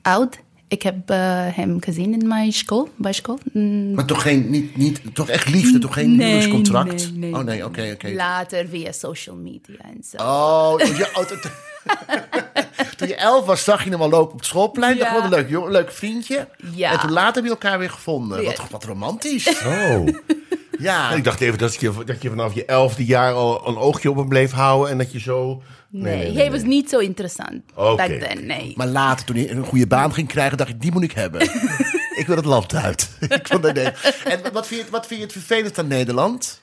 [SPEAKER 6] oud, ik heb eh, hem gezien in mijn school, bij school. Mm,
[SPEAKER 3] Maar toch, geen, niet, niet, toch echt liefde, toch geen
[SPEAKER 6] Nee,
[SPEAKER 3] huwelijkscontract?
[SPEAKER 6] nee, nee.
[SPEAKER 3] oh nee, oké, oké.
[SPEAKER 6] Later via social media en zo.
[SPEAKER 3] Oh, ja, oh, dat-
[SPEAKER 1] Toen je elf was, zag je hem al lopen op het schoolplein.
[SPEAKER 6] Ja.
[SPEAKER 1] Dacht, wat een leuk, jongen, leuk vriendje.
[SPEAKER 6] Ja.
[SPEAKER 1] En toen later hebben je elkaar weer gevonden.
[SPEAKER 6] Ja.
[SPEAKER 1] Wat, wat romantisch.
[SPEAKER 4] Oh.
[SPEAKER 1] Ja.
[SPEAKER 4] Ik dacht even dat je, dat je vanaf je elfde jaar al een oogje op hem bleef houden. En dat je zo...
[SPEAKER 6] Nee, hij was niet zo interessant
[SPEAKER 4] Oké.
[SPEAKER 6] back then, nee.
[SPEAKER 1] Maar later, toen hij een goede baan ging krijgen, dacht ik, die moet ik hebben. ik wil het land uit. ik vond dat nee. En wat vind, je, wat vind je het vervelend aan Nederland?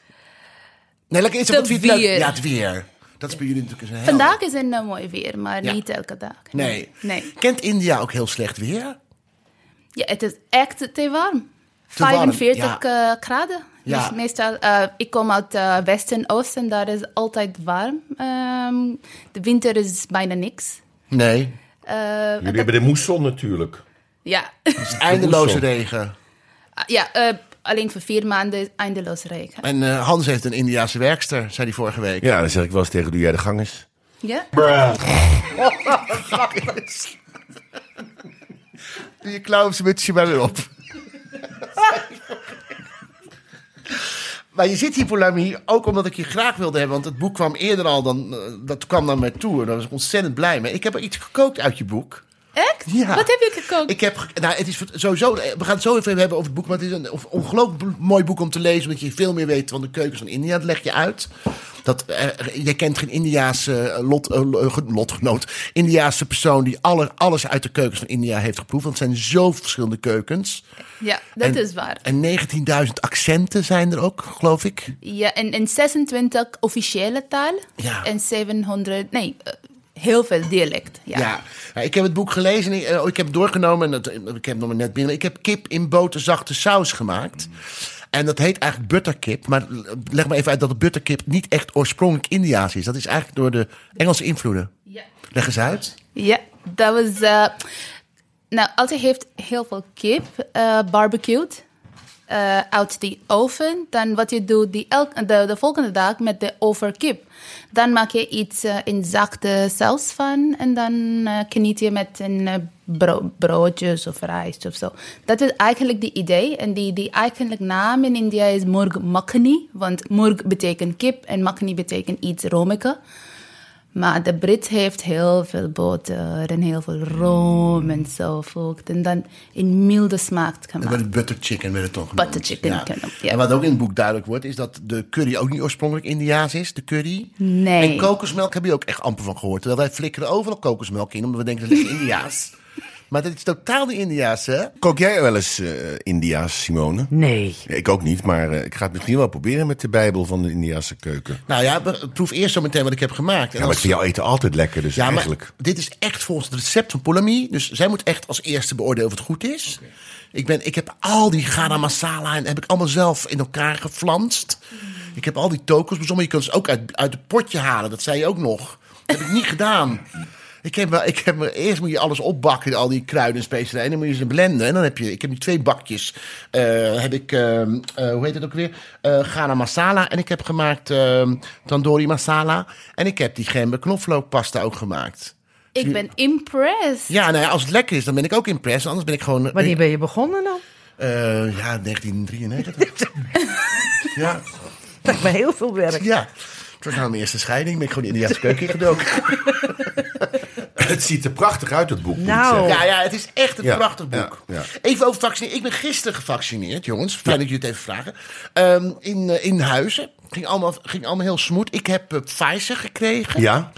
[SPEAKER 1] Nee, lekker eerst,
[SPEAKER 6] Het
[SPEAKER 1] wat vind je het leuk?
[SPEAKER 6] weer.
[SPEAKER 1] Ja, het weer. Dat is bij jullie natuurlijk een hel.
[SPEAKER 6] Vandaag is het nou mooi weer, maar
[SPEAKER 1] Ja.
[SPEAKER 6] niet elke dag.
[SPEAKER 1] Nee.
[SPEAKER 6] nee.
[SPEAKER 1] Kent India ook heel slecht weer?
[SPEAKER 6] Ja, het is echt te warm.
[SPEAKER 1] warm,
[SPEAKER 6] 45 eh, graden.
[SPEAKER 1] Ja.
[SPEAKER 6] Dus meestal, eh, ik kom uit eh, West en Oost en daar is altijd warm. Ehm, de winter is bijna niks.
[SPEAKER 1] Nee.
[SPEAKER 6] Eh,
[SPEAKER 4] Jullie hebben de moesson natuurlijk.
[SPEAKER 6] ja,
[SPEAKER 1] Eindeloze
[SPEAKER 4] Hoezo?
[SPEAKER 1] regen.
[SPEAKER 6] ja eh, alleen voor vier maanden is eindeloos regen.
[SPEAKER 1] En eh, Hans heeft een Indiaanse werkster, zei hij vorige week.
[SPEAKER 4] Ja, dan zeg ik wel eens tegen doe jij de gang is.
[SPEAKER 6] Ja?
[SPEAKER 1] Doe je klauw op zijn mutsje maar weer op. Maar je zit hier, Poulami, ook omdat ik je graag wilde hebben. Want het boek kwam eerder al dan... eh, Dat kwam naar mij toe. En daar was ik ontzettend blij mee. Ik heb er iets gekookt uit je boek.
[SPEAKER 6] Echt?
[SPEAKER 1] Ja.
[SPEAKER 6] Wat heb je gekookt?
[SPEAKER 1] Ik heb... ge- Nou, het is sowieso... eh, We gaan het zo even hebben over het boek. Maar het is een ongelooflijk b- mooi boek om te lezen. Omdat je veel meer weet van de keukens van India. Dat leg je uit. Dat, eh, je kent geen Indiaanse eh, lot, eh, lo- eh, lotgenoot. Indiaanse persoon die alle, alles uit de keukens van India heeft geproefd. Want het zijn zo verschillende keukens.
[SPEAKER 6] Ja, dat
[SPEAKER 1] En-
[SPEAKER 6] is waar.
[SPEAKER 1] En 19.000 accenten zijn er ook, geloof ik.
[SPEAKER 6] Ja, en, en 26 officiële talen.
[SPEAKER 1] Ja.
[SPEAKER 6] En 700, nee, eh, heel veel dialect. Ja.
[SPEAKER 1] Ja. Nou, Ik heb het boek gelezen en ik, eh, ik heb het doorgenomen. En dat, ik heb het nog maar net binnen. Ik heb kip in boterzachte saus gemaakt. En dat heet eigenlijk butterkip. Maar leg maar even uit dat de butterkip niet echt oorspronkelijk Indiaas is. Dat is eigenlijk door de Engelse invloeden.
[SPEAKER 6] Ja.
[SPEAKER 1] Leg eens uit.
[SPEAKER 6] Ja, dat was. eh, nou, altijd heeft heel veel kip eh barbecued eh, uit die oven. Dan wat je doet die elk, de, de volgende dag met de overkip. Dan maak je iets eh, in zachte saus van en dan eh, geniet je met een eh, bro- broodjes of rijst of zo. Dat is eigenlijk die idee. En die, die eigenlijk naam in India is murg makhani. Want murg betekent kip en makhani betekent iets romige. Maar de Brit heeft heel veel boter en heel veel room en zo vocht. En dan een milde smaak
[SPEAKER 1] Dat werd
[SPEAKER 6] gemaakt.
[SPEAKER 1] het butter chicken werd het toch genoemd.
[SPEAKER 6] Butter chicken, kennen, ja.
[SPEAKER 1] En wat ook in het boek duidelijk wordt, is dat de curry ook niet oorspronkelijk Indiaas is, de curry.
[SPEAKER 6] Nee.
[SPEAKER 1] En kokosmelk heb je ook echt amper van gehoord. Terwijl wij flikkeren overal kokosmelk in, omdat we denken dat is Indiaas. maar dat is totaal niet Indiaas, hè?
[SPEAKER 4] Kook jij wel eens eh, India's, Simone?
[SPEAKER 5] Nee.
[SPEAKER 4] Ja, Ik ook niet, maar eh, ik ga het misschien wel proberen met de Bijbel van de Indiase keuken. Ja,
[SPEAKER 1] Nou ja, be- proef eerst zo meteen wat ik heb gemaakt. En
[SPEAKER 4] maar ik
[SPEAKER 1] als-
[SPEAKER 4] vind jouw eten altijd lekker, dus
[SPEAKER 1] Ja, maar
[SPEAKER 4] eigenlijk.
[SPEAKER 1] dit is echt volgens het recept van Polami. Dus zij moet echt als eerste beoordelen of het goed is. Ik, ben, ik heb al die garam masala en heb ik allemaal zelf in elkaar geflanst. Ik heb al die tokens bezommen. Je kunt ze ook uit, uit het potje halen. Dat zei je ook nog. Dat heb ik niet gedaan. Ik heb, wel- ik heb, me- eerst moet je alles opbakken, al die kruiden en specerijen. En dan moet je ze blenden. En dan heb je, ik heb nu twee bakjes. Eh, heb ik, ehm, eh, hoe heet het ook weer? Eh Ghana masala. En ik heb gemaakt ehm, tandoori masala. En ik heb die gember knoflookpasta ook gemaakt.
[SPEAKER 6] Ik ben impressed.
[SPEAKER 1] Ja, nou ja, als het lekker is, dan ben ik ook impressed. Anders ben ik gewoon...
[SPEAKER 5] Wanneer ben je begonnen dan?
[SPEAKER 1] Eh, ja, 1993. ja,
[SPEAKER 5] Dat lijkt me heel veel werk.
[SPEAKER 1] ja. Het was nou mijn eerste scheiding. Ben ik gewoon de Indiaanse keuken ingedoken.
[SPEAKER 4] Het ziet er prachtig uit, het boek. moet ik
[SPEAKER 5] Nou.
[SPEAKER 4] zeggen.
[SPEAKER 1] Ja, ja, het is echt een
[SPEAKER 4] Ja,
[SPEAKER 1] prachtig boek.
[SPEAKER 4] ja, ja.
[SPEAKER 1] Even over vaccineren. Ik ben gisteren gevaccineerd, jongens. Fijn dat jullie het even vragen. Ehm, in, eh, in Huizen. Ging allemaal, ging allemaal heel smooth. Ik heb eh, Pfizer gekregen.
[SPEAKER 4] Ja?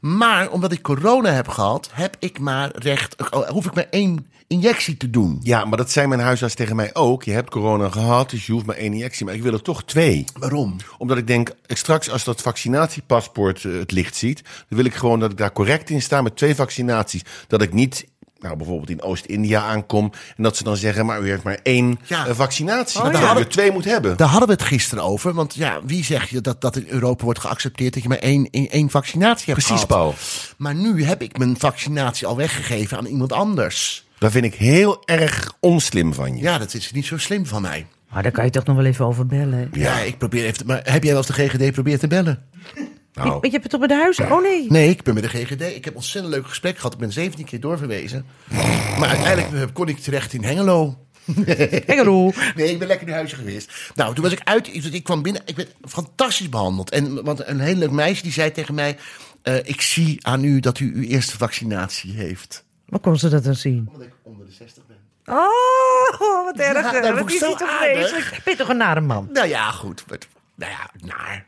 [SPEAKER 1] Maar omdat ik corona heb gehad, heb ik maar recht, oh, hoef ik maar één injectie te doen.
[SPEAKER 4] ja, maar dat zei mijn huisarts tegen mij ook. Je hebt corona gehad, dus je hoeft maar één injectie. Maar ik wil er toch twee.
[SPEAKER 1] Waarom?
[SPEAKER 4] Omdat ik denk, ik straks als dat vaccinatiepaspoort eh, het licht ziet... dan wil ik gewoon dat ik daar correct in sta met twee vaccinaties. Dat ik niet... Nou, bijvoorbeeld in Oost-India aankom. En dat ze dan zeggen, maar u heeft maar één
[SPEAKER 1] Ja.
[SPEAKER 4] eh, vaccinatie.
[SPEAKER 1] ja.
[SPEAKER 4] dat je er twee moet hebben.
[SPEAKER 1] Daar hadden we het gisteren over. Want ja, wie zegt je dat, dat in Europa wordt geaccepteerd dat je maar één, één, één vaccinatie hebt
[SPEAKER 4] Precies,
[SPEAKER 1] gehad?
[SPEAKER 4] Paul.
[SPEAKER 1] Maar nu heb ik mijn vaccinatie al weggegeven aan iemand anders.
[SPEAKER 4] Dat vind ik heel erg onslim van je.
[SPEAKER 1] Ja, dat is niet zo slim van mij.
[SPEAKER 5] Maar daar kan je toch nog wel even over bellen.
[SPEAKER 1] Ja, ik probeer even. te- Maar heb jij wel eens de GGD geprobeerd te bellen?
[SPEAKER 4] Nou,
[SPEAKER 5] Je hebt het op het huis? Oh nee.
[SPEAKER 1] Nee, ik ben met de GGD. Ik heb ontzettend leuk gesprek gehad. Ik ben 17 keer doorverwezen. Maar uiteindelijk eh, kon ik terecht in Hengelo.
[SPEAKER 5] Hengelo.
[SPEAKER 1] Nee, ik ben lekker naar huis geweest. Nou, toen was ik uit. Ik ik kwam binnen. Ik werd fantastisch behandeld. En want een heel leuk meisje die zei tegen mij. eh, ik zie aan u dat u uw eerste vaccinatie heeft.
[SPEAKER 5] Waar kon ze dat dan zien?
[SPEAKER 1] Omdat ik onder de 60 ben.
[SPEAKER 5] Oh, wat erg.
[SPEAKER 1] dat
[SPEAKER 5] hè.
[SPEAKER 1] vond
[SPEAKER 5] wat
[SPEAKER 1] ik
[SPEAKER 5] is
[SPEAKER 1] zo
[SPEAKER 5] die toch
[SPEAKER 1] aardig.
[SPEAKER 5] vreselijk? Ben je toch een nare man?
[SPEAKER 1] Nou ja, goed. Het- Nou ja, naar.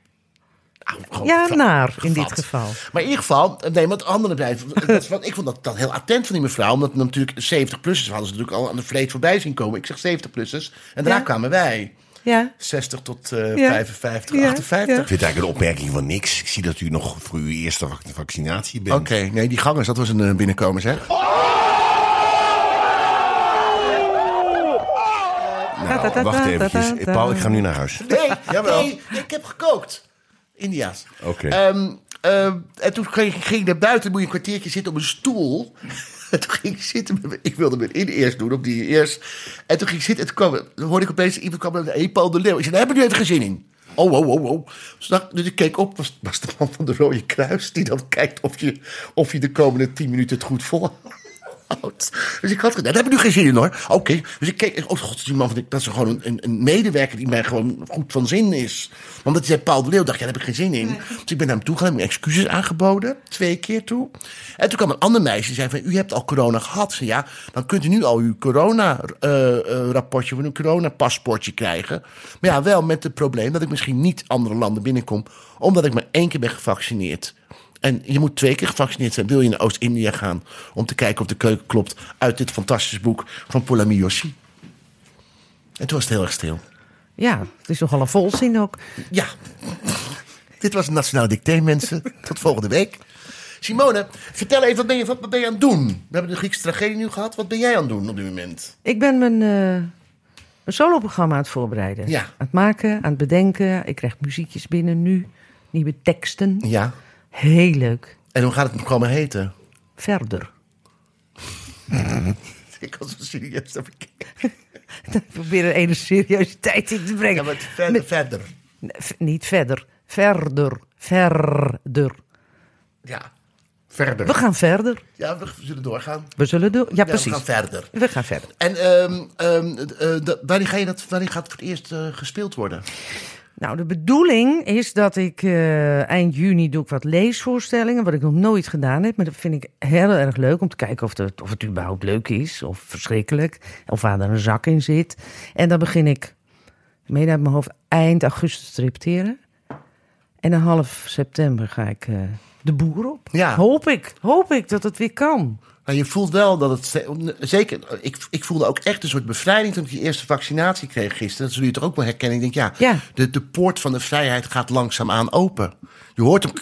[SPEAKER 1] Nou, gewoon
[SPEAKER 5] Ja,
[SPEAKER 1] gevat-
[SPEAKER 5] naar, in
[SPEAKER 1] gevat.
[SPEAKER 5] dit geval.
[SPEAKER 1] Maar in ieder geval, eh, nee, want andere blijven. Dat is wat, ik vond dat, dat heel attent van die mevrouw. Omdat natuurlijk 70-plussers hadden ze natuurlijk al aan de vreed voorbij zien komen. Ik zeg 70-plussers. En daarna
[SPEAKER 5] Ja.
[SPEAKER 1] kwamen wij.
[SPEAKER 5] Ja.
[SPEAKER 1] 60 tot eh,
[SPEAKER 5] Ja.
[SPEAKER 1] 55,
[SPEAKER 5] Ja,
[SPEAKER 1] 58.
[SPEAKER 5] ja.
[SPEAKER 4] Ik vind het eigenlijk een opmerking van niks. Ik zie dat u nog voor uw eerste vac- vaccinatie bent.
[SPEAKER 1] Oké, nee, die gangers, dat was een eh, binnenkomen, zeg.
[SPEAKER 5] Ta- ta- ta-
[SPEAKER 4] Nou, wacht
[SPEAKER 5] ta- ta-
[SPEAKER 4] eventjes.
[SPEAKER 5] ta- ta-
[SPEAKER 4] Eh, Paul, ik ga nu naar huis.
[SPEAKER 1] Nee,
[SPEAKER 4] Jawel.
[SPEAKER 1] nee, ik heb gekookt. India's.
[SPEAKER 4] Oké.
[SPEAKER 1] Ehm, ehm, en toen ging, ging ik naar buiten, moet je een kwartiertje zitten op een stoel. En toen ging ik zitten, met mijn- ik wilde mijn in eerst doen, op die eerst. En toen ging ik zitten en toen, kwam, toen hoorde ik opeens iemand kwam met een hey, Paul de Leeuw. Ik zei, daar heb ik nu even geen zin in. Oh, oh, oh, oh. Dus, dacht- dus ik keek op, was, was de man van de Rode Kruis... die dan kijkt of je, of je de komende tien minuten het goed volhoudt. Dus ik had gedaan, daar heb ik nu geen zin in hoor. Oké, dus ik keek, oh god, die man van de- dat is gewoon een- een, een medewerker... die mij gewoon goed van zin is. Want dat zei Paul de Leeuw, dacht, ja, daar heb ik geen zin in. Dus ik ben naar hem toe gegaan, heb mijn excuses aangeboden. Twee keer toe. En toen kwam een ander meisje en zei van, u hebt al corona gehad. Ze, ja, dan kunt u nu al uw corona-rapportje, of een corona-paspoortje krijgen. Maar ja, wel met het probleem dat ik misschien niet andere landen binnenkom, omdat ik maar één keer ben gevaccineerd. En je moet twee keer gevaccineerd zijn. Wil je naar Oost-India gaan om te kijken of de keuken klopt uit dit fantastische boek van Polami Yoshi? En toen was het heel erg stil.
[SPEAKER 5] Ja, het is nogal een volzin ook.
[SPEAKER 1] Ja. Dit was het Nationaal Dicté, mensen. Tot volgende week. Simone, vertel even, wat ben, je, wat ben je aan het doen? We hebben de Griekse tragedie nu gehad. Wat ben jij aan het doen op dit moment?
[SPEAKER 5] Ik ben mijn, eh mijn soloprogramma aan het voorbereiden.
[SPEAKER 1] Ja.
[SPEAKER 5] Aan het maken, aan het bedenken. Ik krijg muziekjes binnen nu. Nieuwe teksten.
[SPEAKER 1] Ja.
[SPEAKER 5] Heel leuk.
[SPEAKER 1] En hoe gaat het programma heten?
[SPEAKER 5] Verder.
[SPEAKER 1] Ik was zo serieus dat ik...
[SPEAKER 5] Ik probeer er enige seriositeit in te brengen.
[SPEAKER 1] Ja, maar verder, verder.
[SPEAKER 5] Nee, v- niet verder. Verder. Verder.
[SPEAKER 1] Ja.
[SPEAKER 5] We
[SPEAKER 4] Verder.
[SPEAKER 5] gaan verder.
[SPEAKER 1] ja, we zullen doorgaan.
[SPEAKER 5] We zullen doen. Ja,
[SPEAKER 1] we
[SPEAKER 5] precies.
[SPEAKER 1] gaan verder.
[SPEAKER 5] We gaan verder.
[SPEAKER 1] En ehm, ehm, eh, dat- wanneer, ga je dat, wanneer gaat het voor het eerst eh, gespeeld worden?
[SPEAKER 5] Nou, de bedoeling is dat ik eh, eind juni doe ik wat leesvoorstellingen, wat ik nog nooit gedaan heb. Maar dat vind ik heel erg leuk om te kijken of het, of het überhaupt leuk is of verschrikkelijk. Of waar er een zak in zit. En dan begin ik, meen uit mijn hoofd, eind augustus te repeteren. En dan half september ga ik eh, de boer op.
[SPEAKER 1] Ja.
[SPEAKER 5] Hoop ik, hoop ik dat het weer kan.
[SPEAKER 1] Maar Nou, je voelt wel dat het. ze- Zeker, eh, ik, ik voelde ook echt een soort bevrijding toen ik die eerste vaccinatie kreeg gisteren. Dat zul je toch ook wel herkennen. Ik denk, ja,
[SPEAKER 5] Ja.
[SPEAKER 1] De, de poort van de vrijheid gaat langzaamaan open. Je hoort hem.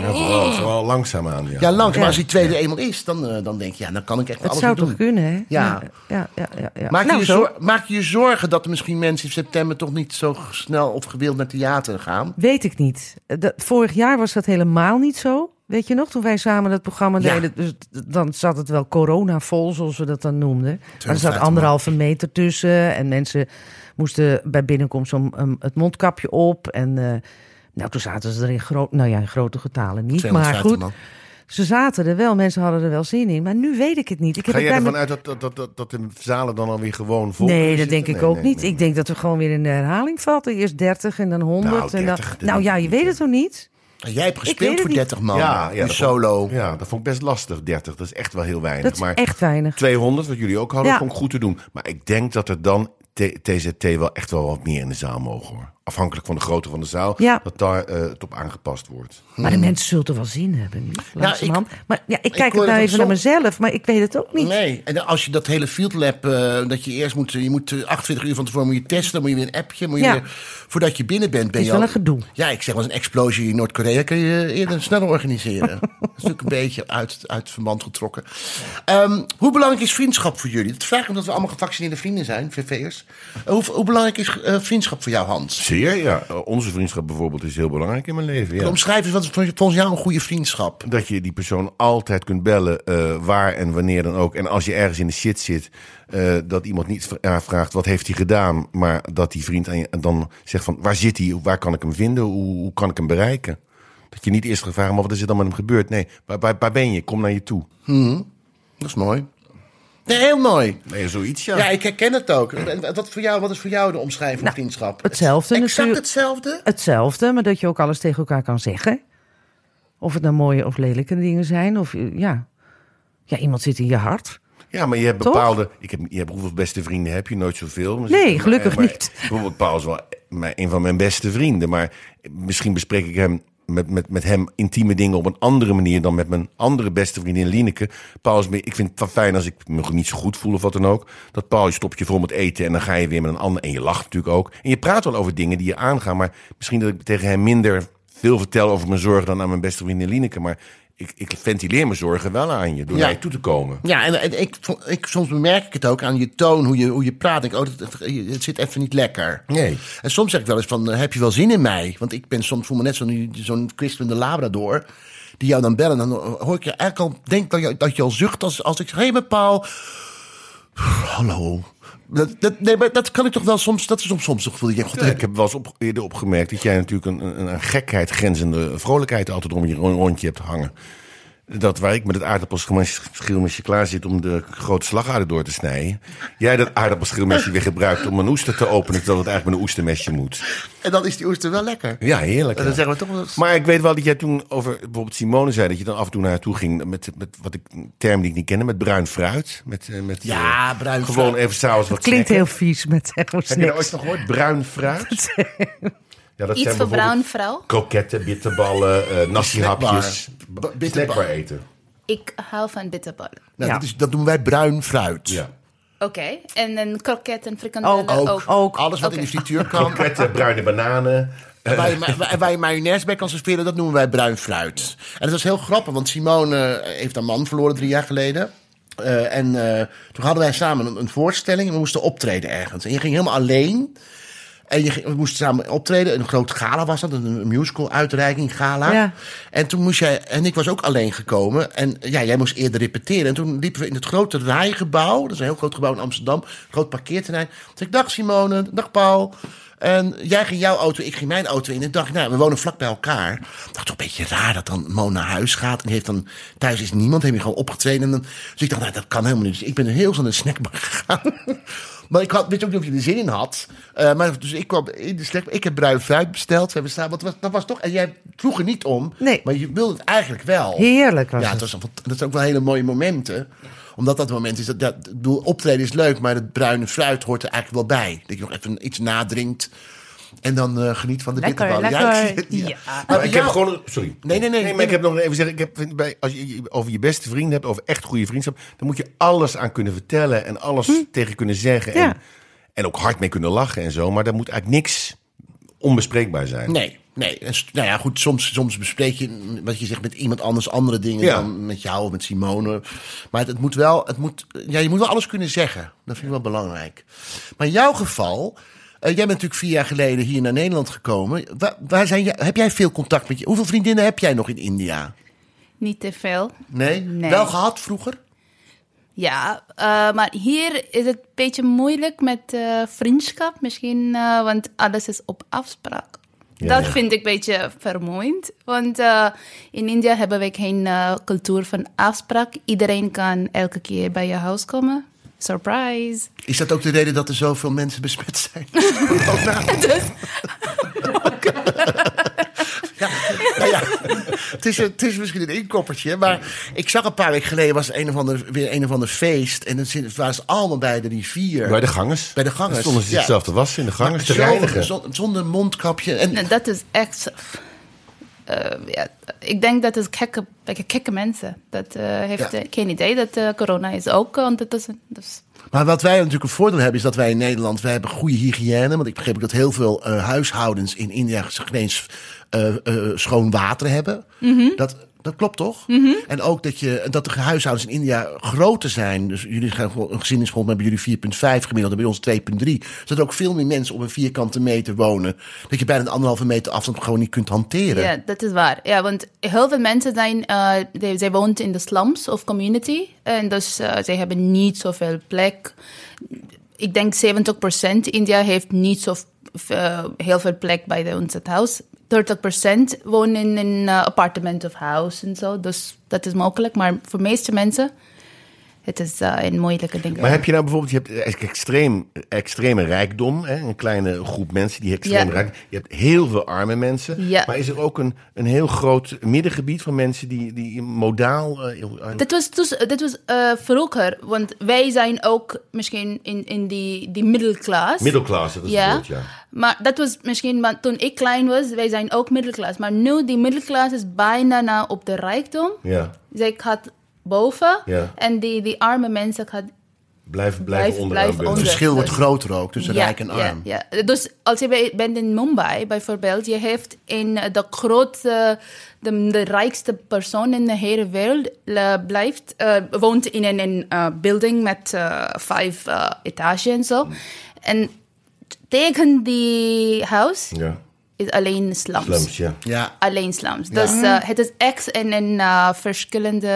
[SPEAKER 4] Ja, vooral, vooral langzaam aan. Ja.
[SPEAKER 1] Ja, langzaam.
[SPEAKER 5] Ja.
[SPEAKER 1] Maar als die tweede eenmaal is, dan, eh, dan denk je, ja, dan kan ik echt
[SPEAKER 5] Het
[SPEAKER 1] alles
[SPEAKER 5] zou
[SPEAKER 1] mee
[SPEAKER 5] toch
[SPEAKER 1] doen.
[SPEAKER 5] kunnen, hè?
[SPEAKER 1] Ja.
[SPEAKER 5] ja, ja, ja, ja.
[SPEAKER 1] Maak,
[SPEAKER 5] Nou,
[SPEAKER 1] je je
[SPEAKER 5] zo.
[SPEAKER 1] zor- maak je je zorgen dat er misschien mensen in september toch niet zo snel of gewild naar theater gaan?
[SPEAKER 5] Weet ik niet. Eh, Dat, vorig jaar was dat helemaal niet zo. Weet je nog, toen wij samen dat programma
[SPEAKER 1] Ja.
[SPEAKER 5] deden, dus d- dan zat het wel coronavol, zoals we dat dan noemden. Maar er zat
[SPEAKER 1] 250
[SPEAKER 5] anderhalve meter tussen en mensen moesten bij binnenkomst om, om het mondkapje op. En eh, nou, toen zaten ze er in, groot, nou ja, in grote getalen niet. Maar
[SPEAKER 1] 250
[SPEAKER 5] goed,
[SPEAKER 1] man.
[SPEAKER 5] ze zaten er wel, mensen hadden er wel zin in. Maar nu weet ik het niet. Ik heb
[SPEAKER 4] Ga
[SPEAKER 5] het
[SPEAKER 4] jij
[SPEAKER 5] bij
[SPEAKER 4] ervan
[SPEAKER 5] me-
[SPEAKER 4] uit dat, dat, dat, dat, dat de zalen dan alweer gewoon vol
[SPEAKER 5] Nee, dat
[SPEAKER 4] zitten?
[SPEAKER 5] denk ik
[SPEAKER 4] Nee,
[SPEAKER 5] ook
[SPEAKER 4] nee,
[SPEAKER 5] niet.
[SPEAKER 4] nee.
[SPEAKER 5] Ik denk dat we gewoon weer in de herhaling vatten. Eerst 30 en dan 100.
[SPEAKER 4] Nou,
[SPEAKER 5] en
[SPEAKER 4] 30,
[SPEAKER 5] dan... nou ja, je weet het toch niet?
[SPEAKER 1] En Jij hebt
[SPEAKER 5] weet
[SPEAKER 1] gespeeld
[SPEAKER 5] het
[SPEAKER 1] voor
[SPEAKER 5] niet.
[SPEAKER 1] 30 man.
[SPEAKER 4] Ja, ja,
[SPEAKER 1] een
[SPEAKER 4] dat-
[SPEAKER 1] solo.
[SPEAKER 4] Ja, dat vond ik best lastig, 30. Dat is echt wel heel weinig.
[SPEAKER 5] Dat is
[SPEAKER 4] maar
[SPEAKER 5] echt weinig.
[SPEAKER 4] 200, wat jullie ook hadden,
[SPEAKER 5] Ja.
[SPEAKER 4] vond ik goed te doen. Maar ik denk dat er dan T- TZT wel echt wel wat meer in de zaal mogen. Hoor. Afhankelijk van de grootte van de zaal,
[SPEAKER 5] Ja.
[SPEAKER 4] dat daar eh, het op aangepast wordt.
[SPEAKER 5] Maar de mensen zullen er wel zin hebben nu, langzamerhand. maar ja, ik kijk
[SPEAKER 1] hoor
[SPEAKER 5] het nou
[SPEAKER 1] het
[SPEAKER 5] even
[SPEAKER 1] ook
[SPEAKER 5] naar mezelf, maar ik weet het ook niet.
[SPEAKER 1] Nee, en als je dat hele field lab, eh, dat je eerst moet, je moet eh, 48 uur van tevoren moet je testen, dan moet je weer een appje, moet je
[SPEAKER 5] Ja.
[SPEAKER 1] weer- voordat je binnen bent, ben
[SPEAKER 5] is
[SPEAKER 1] je
[SPEAKER 5] wel
[SPEAKER 1] al-
[SPEAKER 5] een gedoe.
[SPEAKER 1] Ja, ik zeg wel eens een explosie in Noord-Korea kun je eerder sneller organiseren. dat is natuurlijk een beetje uit, uit verband getrokken. Ehm, hoe belangrijk is vriendschap voor jullie? Dat vraag ik omdat we allemaal gevaccineerde vrienden zijn, VV'ers. Eh, hoe, hoe belangrijk is eh, vriendschap voor jou, Hans?
[SPEAKER 4] Zeer, ja. Eh, Onze vriendschap bijvoorbeeld is heel belangrijk in mijn leven. Ja.
[SPEAKER 1] Omschrijf eens, wat is volgens jou een goede vriendschap?
[SPEAKER 4] Dat je die persoon altijd kunt bellen, eh, waar en wanneer dan ook. En als je ergens in de shit zit, eh, dat iemand niet v- ja, vraagt wat heeft hij gedaan. Maar dat die vriend aan je- dan zegt van waar zit hij, waar kan ik hem vinden, hoe, hoe kan ik hem bereiken. Dat je niet eerst gaat vragen, maar wat is er dan met hem gebeurd? Nee, waar, waar, waar ben je? Kom naar je toe.
[SPEAKER 1] Dat is mooi. Nee, heel mooi.
[SPEAKER 4] Nee, zoiets
[SPEAKER 1] Ja, ik herken het ook. En Wat, voor jou, wat is voor jou de omschrijving van vriendschap?
[SPEAKER 5] hetzelfde
[SPEAKER 1] Exact
[SPEAKER 5] natuurlijk.
[SPEAKER 1] hetzelfde?
[SPEAKER 5] Hetzelfde, maar dat je ook alles tegen elkaar kan zeggen. Of het nou mooie of lelijke dingen zijn. Of eh, ja. ja, iemand zit in je hart.
[SPEAKER 4] Ja, maar je hebt
[SPEAKER 5] Toch?
[SPEAKER 4] bepaalde. Ik heb, je hebt, hoeveel beste vrienden heb je? Nooit zoveel. Maar-
[SPEAKER 5] Nee, gelukkig
[SPEAKER 4] maar-
[SPEAKER 5] niet.
[SPEAKER 4] Bijvoorbeeld Paul is wel mijn- een van mijn beste vrienden. Maar misschien bespreek ik hem met, met, met hem intieme dingen op een andere manier dan met mijn andere beste vriendin Lineke. Paul is meer, ik vind het wel fijn als ik me niet zo goed voel of wat dan ook. Dat Paul je stopt je voor met eten en dan ga je weer met een ander. En je lacht natuurlijk ook. En je praat wel over dingen die je aangaan. Maar misschien dat ik tegen hem minder veel vertel over mijn zorgen dan aan mijn beste vriendin Lineke. Maar ik, ik ventileer mijn zorgen wel aan je door
[SPEAKER 1] Ja.
[SPEAKER 4] naar je toe te komen.
[SPEAKER 1] Ja, en, en ik, vo- ik, soms merk ik het ook aan je toon, hoe je, hoe je praat. Ik, denk, oh, dat- dat- het zit even niet lekker.
[SPEAKER 4] Nee.
[SPEAKER 1] En soms zeg ik wel eens van, eh, heb je wel zin in mij? Want ik ben soms, voel me net zo'n zo'n kwispelende labrador. Die jou dan bellen. Dan eh, hoor ik je eigenlijk al, denk dat je, dat je al zucht als, als ik zeg, hé hey, met Paul. Hallo. Dat, dat, nee, maar dat kan ik toch wel soms, dat is soms soms toch gevoel. Ik denk, god,
[SPEAKER 4] Ja, ik heb wel eens op, eerder opgemerkt dat jij natuurlijk een, een, een gekheid grenzende vrolijkheid altijd om je ro- rondje hebt hangen. Dat waar ik met het aardappelschilmesje klaar zit om de grote slagader door te snijden. Jij dat aardappelschilmesje weer gebruikt om een oester te openen, terwijl het eigenlijk met een oestermesje moet.
[SPEAKER 1] En dan is die oester wel lekker.
[SPEAKER 4] Ja, heerlijk.
[SPEAKER 1] En
[SPEAKER 4] ja.
[SPEAKER 1] dan zeggen we toch wel eens-
[SPEAKER 4] Maar ik weet wel dat jij toen over bijvoorbeeld Simone zei... dat je dan af en toe naar haar toe ging met, met wat ik, een term die ik niet kende... met bruin fruit. Met, eh, met,
[SPEAKER 1] Ja,
[SPEAKER 4] eh,
[SPEAKER 1] bruin
[SPEAKER 4] Gewoon
[SPEAKER 1] fruit.
[SPEAKER 4] even s'avonds wat
[SPEAKER 5] Klinkt
[SPEAKER 4] snacken.
[SPEAKER 5] heel vies met echo
[SPEAKER 4] Heb je dat
[SPEAKER 5] snacks.
[SPEAKER 4] ooit nog gehoord? Bruin fruit? Ja, dat
[SPEAKER 6] Iets voor
[SPEAKER 4] bijvoorbeeld
[SPEAKER 6] bruin vrouw.
[SPEAKER 4] Kroketten, bitterballen, eh nasi-hapjes.
[SPEAKER 1] Snackbar. B- bitterballen.
[SPEAKER 4] Snackbar eten.
[SPEAKER 6] Ik hou van bitterballen.
[SPEAKER 1] Nou,
[SPEAKER 5] Ja.
[SPEAKER 1] dat, is, dat noemen wij bruin fruit.
[SPEAKER 4] Ja.
[SPEAKER 6] Oké. En een kroket en frikandellen
[SPEAKER 1] Oh,
[SPEAKER 5] Ook,
[SPEAKER 6] Nou, ook.
[SPEAKER 5] ook, ook.
[SPEAKER 1] Alles wat
[SPEAKER 6] Oké.
[SPEAKER 1] in de frituur kan.
[SPEAKER 4] Kroketten, bruine bananen.
[SPEAKER 1] En waar, je, ma- waar- waar je mayonaise bij kan serveren, dat noemen wij bruin fruit. En dat was heel grappig, want Simone eh, heeft haar man verloren drie jaar geleden. Eh, en eh, toen hadden wij samen een, een voorstelling en we moesten optreden ergens. En je ging helemaal alleen. En je ging- we moesten samen optreden. Een groot gala was dat, een musical uitreiking gala.
[SPEAKER 5] Ja.
[SPEAKER 1] En toen moest jij, en ik was ook alleen gekomen. En ja, jij moest eerder repeteren. En toen liepen we in het grote rijgebouw. Dat is een heel groot gebouw in Amsterdam. Groot parkeerterrein. Toen zei ik, dag Simone, dag Paul. En jij ging jouw auto, ik ging mijn auto in. En dacht ik, nou, we wonen vlak bij elkaar. Ik dacht, toch een beetje raar dat dan Mo naar huis gaat. En die heeft dan, thuis is niemand, heeft hij gewoon opgetreden. En dan, dus ik dacht, nou, dat kan helemaal niet. Dus ik ben heel snel naar de snackbar gegaan. Maar ik had, weet ook niet of je er zin in had. Eh, maar dus ik kwam in de slecht. Ik heb bruin fruit besteld. We hebben staan, want dat was, dat was toch. En jij vroeg er niet om.
[SPEAKER 5] Nee.
[SPEAKER 1] Maar je wilde het eigenlijk wel.
[SPEAKER 5] Heerlijk was
[SPEAKER 1] ja,
[SPEAKER 5] het.
[SPEAKER 1] het was een, fant- dat zijn ook wel hele mooie momenten. Omdat dat moment is. Dat, dat, ik bedoel, optreden is leuk, maar het bruine fruit hoort er eigenlijk wel bij. Dat je nog even iets nadrinkt. En dan eh, geniet van de
[SPEAKER 6] Lekker,
[SPEAKER 1] bitterballen.
[SPEAKER 6] lekker. Ja.
[SPEAKER 1] Maar
[SPEAKER 4] Maar
[SPEAKER 1] bij
[SPEAKER 4] ik heb
[SPEAKER 1] jou-
[SPEAKER 4] gewoon... een- Sorry.
[SPEAKER 1] Nee, nee, nee.
[SPEAKER 4] maar ik heb nog even zeggen... Ik heb, vind bij, als je je over je beste vrienden hebt, over echt goede vriendschap... dan moet je alles aan kunnen vertellen en alles
[SPEAKER 1] Hm.
[SPEAKER 4] tegen kunnen zeggen.
[SPEAKER 5] Ja.
[SPEAKER 4] En, en ook hard mee kunnen lachen en zo. Maar daar moet eigenlijk niks onbespreekbaar zijn.
[SPEAKER 1] Nee, nee. En s- Nou ja, goed, soms, soms bespreek je mm, wat je zegt met iemand anders andere dingen
[SPEAKER 4] Ja.
[SPEAKER 1] dan met jou of met Simone. Maar het, het moet wel, het moet, ja, je moet wel alles kunnen zeggen. Dat vind ik wel belangrijk. Maar in jouw geval, eh, jij bent natuurlijk vier jaar geleden hier naar Nederland gekomen. Waar, waar zijn je, heb jij veel contact met je? Hoeveel vriendinnen heb jij nog in India?
[SPEAKER 6] Niet te veel.
[SPEAKER 1] Nee?
[SPEAKER 6] Nee.
[SPEAKER 1] Wel gehad vroeger?
[SPEAKER 6] Ja, eh, maar hier is het een beetje moeilijk met eh, vriendschap misschien, eh, want alles is op afspraak. dat vind ik een beetje vermoeiend, want eh, in India hebben we geen eh, cultuur van afspraak. Iedereen kan elke keer bij je huis komen. Surprise!
[SPEAKER 1] Is dat ook de reden dat er zoveel mensen besmet zijn? Nou ja, het, is, het is misschien een inkoppertje, maar ik zag een paar weken geleden was een of ander, weer een of ander feest. En dan zit- waren ze allemaal bij de rivier.
[SPEAKER 4] Bij de gangers.
[SPEAKER 1] Bij de gangers,
[SPEAKER 4] Dan Stonden ze
[SPEAKER 1] ja.
[SPEAKER 4] zichzelf te wassen in de gangers, te
[SPEAKER 1] Zo-
[SPEAKER 4] reinigen.
[SPEAKER 1] zon- zonder mondkapje. En,
[SPEAKER 6] Nou, dat is echt. eh, ja, ik denk dat is gekke, like, gekke mensen. Dat eh, heeft
[SPEAKER 1] Ja.
[SPEAKER 6] eh, geen idee dat eh, corona is ook eh, ondertussen. Dus
[SPEAKER 1] Maar wat wij natuurlijk een voordeel hebben, is dat wij in Nederland, wij hebben goede hygiëne. Want ik begreep ook dat heel veel eh, huishoudens in India geen eens eh, eh, schoon water hebben.
[SPEAKER 6] Mhm.
[SPEAKER 1] Dat, dat klopt toch? En ook dat, je, dat de huishoudens in India groter zijn. Dus jullie gaan gewoon een gezin is volgens mij bij jullie 4,5 gemiddeld en bij ons 2,3. Dus dat er ook veel meer mensen op een vierkante meter wonen. Dat je bijna een anderhalve meter afstand gewoon niet kunt hanteren.
[SPEAKER 6] ja, dat is waar. Ja, want heel veel mensen zijn, eh they- zij woont in de slums of community. En dus eh, zij hebben niet zoveel plek. Ik denk 70% India heeft niet zo v- eh, heel veel plek bij de, ons het huis. 30% wonen in een eh, appartement of house en zo. Dus dat is mogelijk. Maar voor de meeste mensen het is eh, een moeilijke ding.
[SPEAKER 4] Maar heb je nou bijvoorbeeld, je hebt eh, extreem, extreme rijkdom, hè? een kleine groep mensen die extreem
[SPEAKER 6] Ja.
[SPEAKER 4] rijk. Je hebt heel veel arme mensen.
[SPEAKER 6] Ja.
[SPEAKER 4] Maar is er ook een, een heel groot middengebied van mensen die, die modaal. eh, heel-
[SPEAKER 6] Dit was, dus, dit was eh, vroeger, want wij zijn ook misschien in, in die, die middelklas.
[SPEAKER 4] middelklasse, dat is het
[SPEAKER 6] Ja.
[SPEAKER 4] woord, ja.
[SPEAKER 6] Maar dat was misschien want toen ik klein was, wij zijn ook middelklas. Maar nu, die middelklas is bijna nou op de rijkdom.
[SPEAKER 4] Ja,
[SPEAKER 6] Zij gaat boven
[SPEAKER 4] Ja.
[SPEAKER 6] en die, die arme mensen gaat
[SPEAKER 4] blijf, blijf,
[SPEAKER 6] Blijf-
[SPEAKER 4] onder.
[SPEAKER 6] blijf
[SPEAKER 7] Het
[SPEAKER 6] onder.
[SPEAKER 7] verschil wordt
[SPEAKER 6] Dus-
[SPEAKER 7] groter ook tussen rijk en arm.
[SPEAKER 6] Ja, ja. Dus als je bij- bent in Mumbai bijvoorbeeld, je heeft in eh, de grootste, de, de rijkste persoon in de hele wereld eh, blijft, eh, woont in een, een eh, building met eh, vijf eh etages en zo.
[SPEAKER 4] Mm.
[SPEAKER 6] En tegen die huis
[SPEAKER 4] Ja,
[SPEAKER 6] is alleen slums.
[SPEAKER 4] slums, ja.
[SPEAKER 7] Ja. Mm.
[SPEAKER 6] Alleen slums. Dus eh, het is echt een, een eh, verschillende,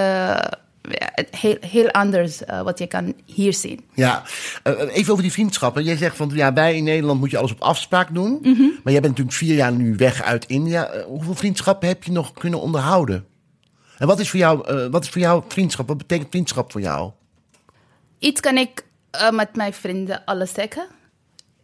[SPEAKER 6] ja, heel, heel anders eh, wat je kan hier zien.
[SPEAKER 7] Ja, Eh, eh, even over die vriendschappen. Jij zegt van ja, wij in Nederland moet je alles op afspraak doen. Maar jij bent natuurlijk vier jaar nu weg uit India. Eh, hoeveel vriendschappen heb je nog kunnen onderhouden? En wat is voor jou, eh, wat is voor jou vriendschap? Wat betekent vriendschap voor jou?
[SPEAKER 6] iets kan ik eh, met mijn vrienden alles zeggen.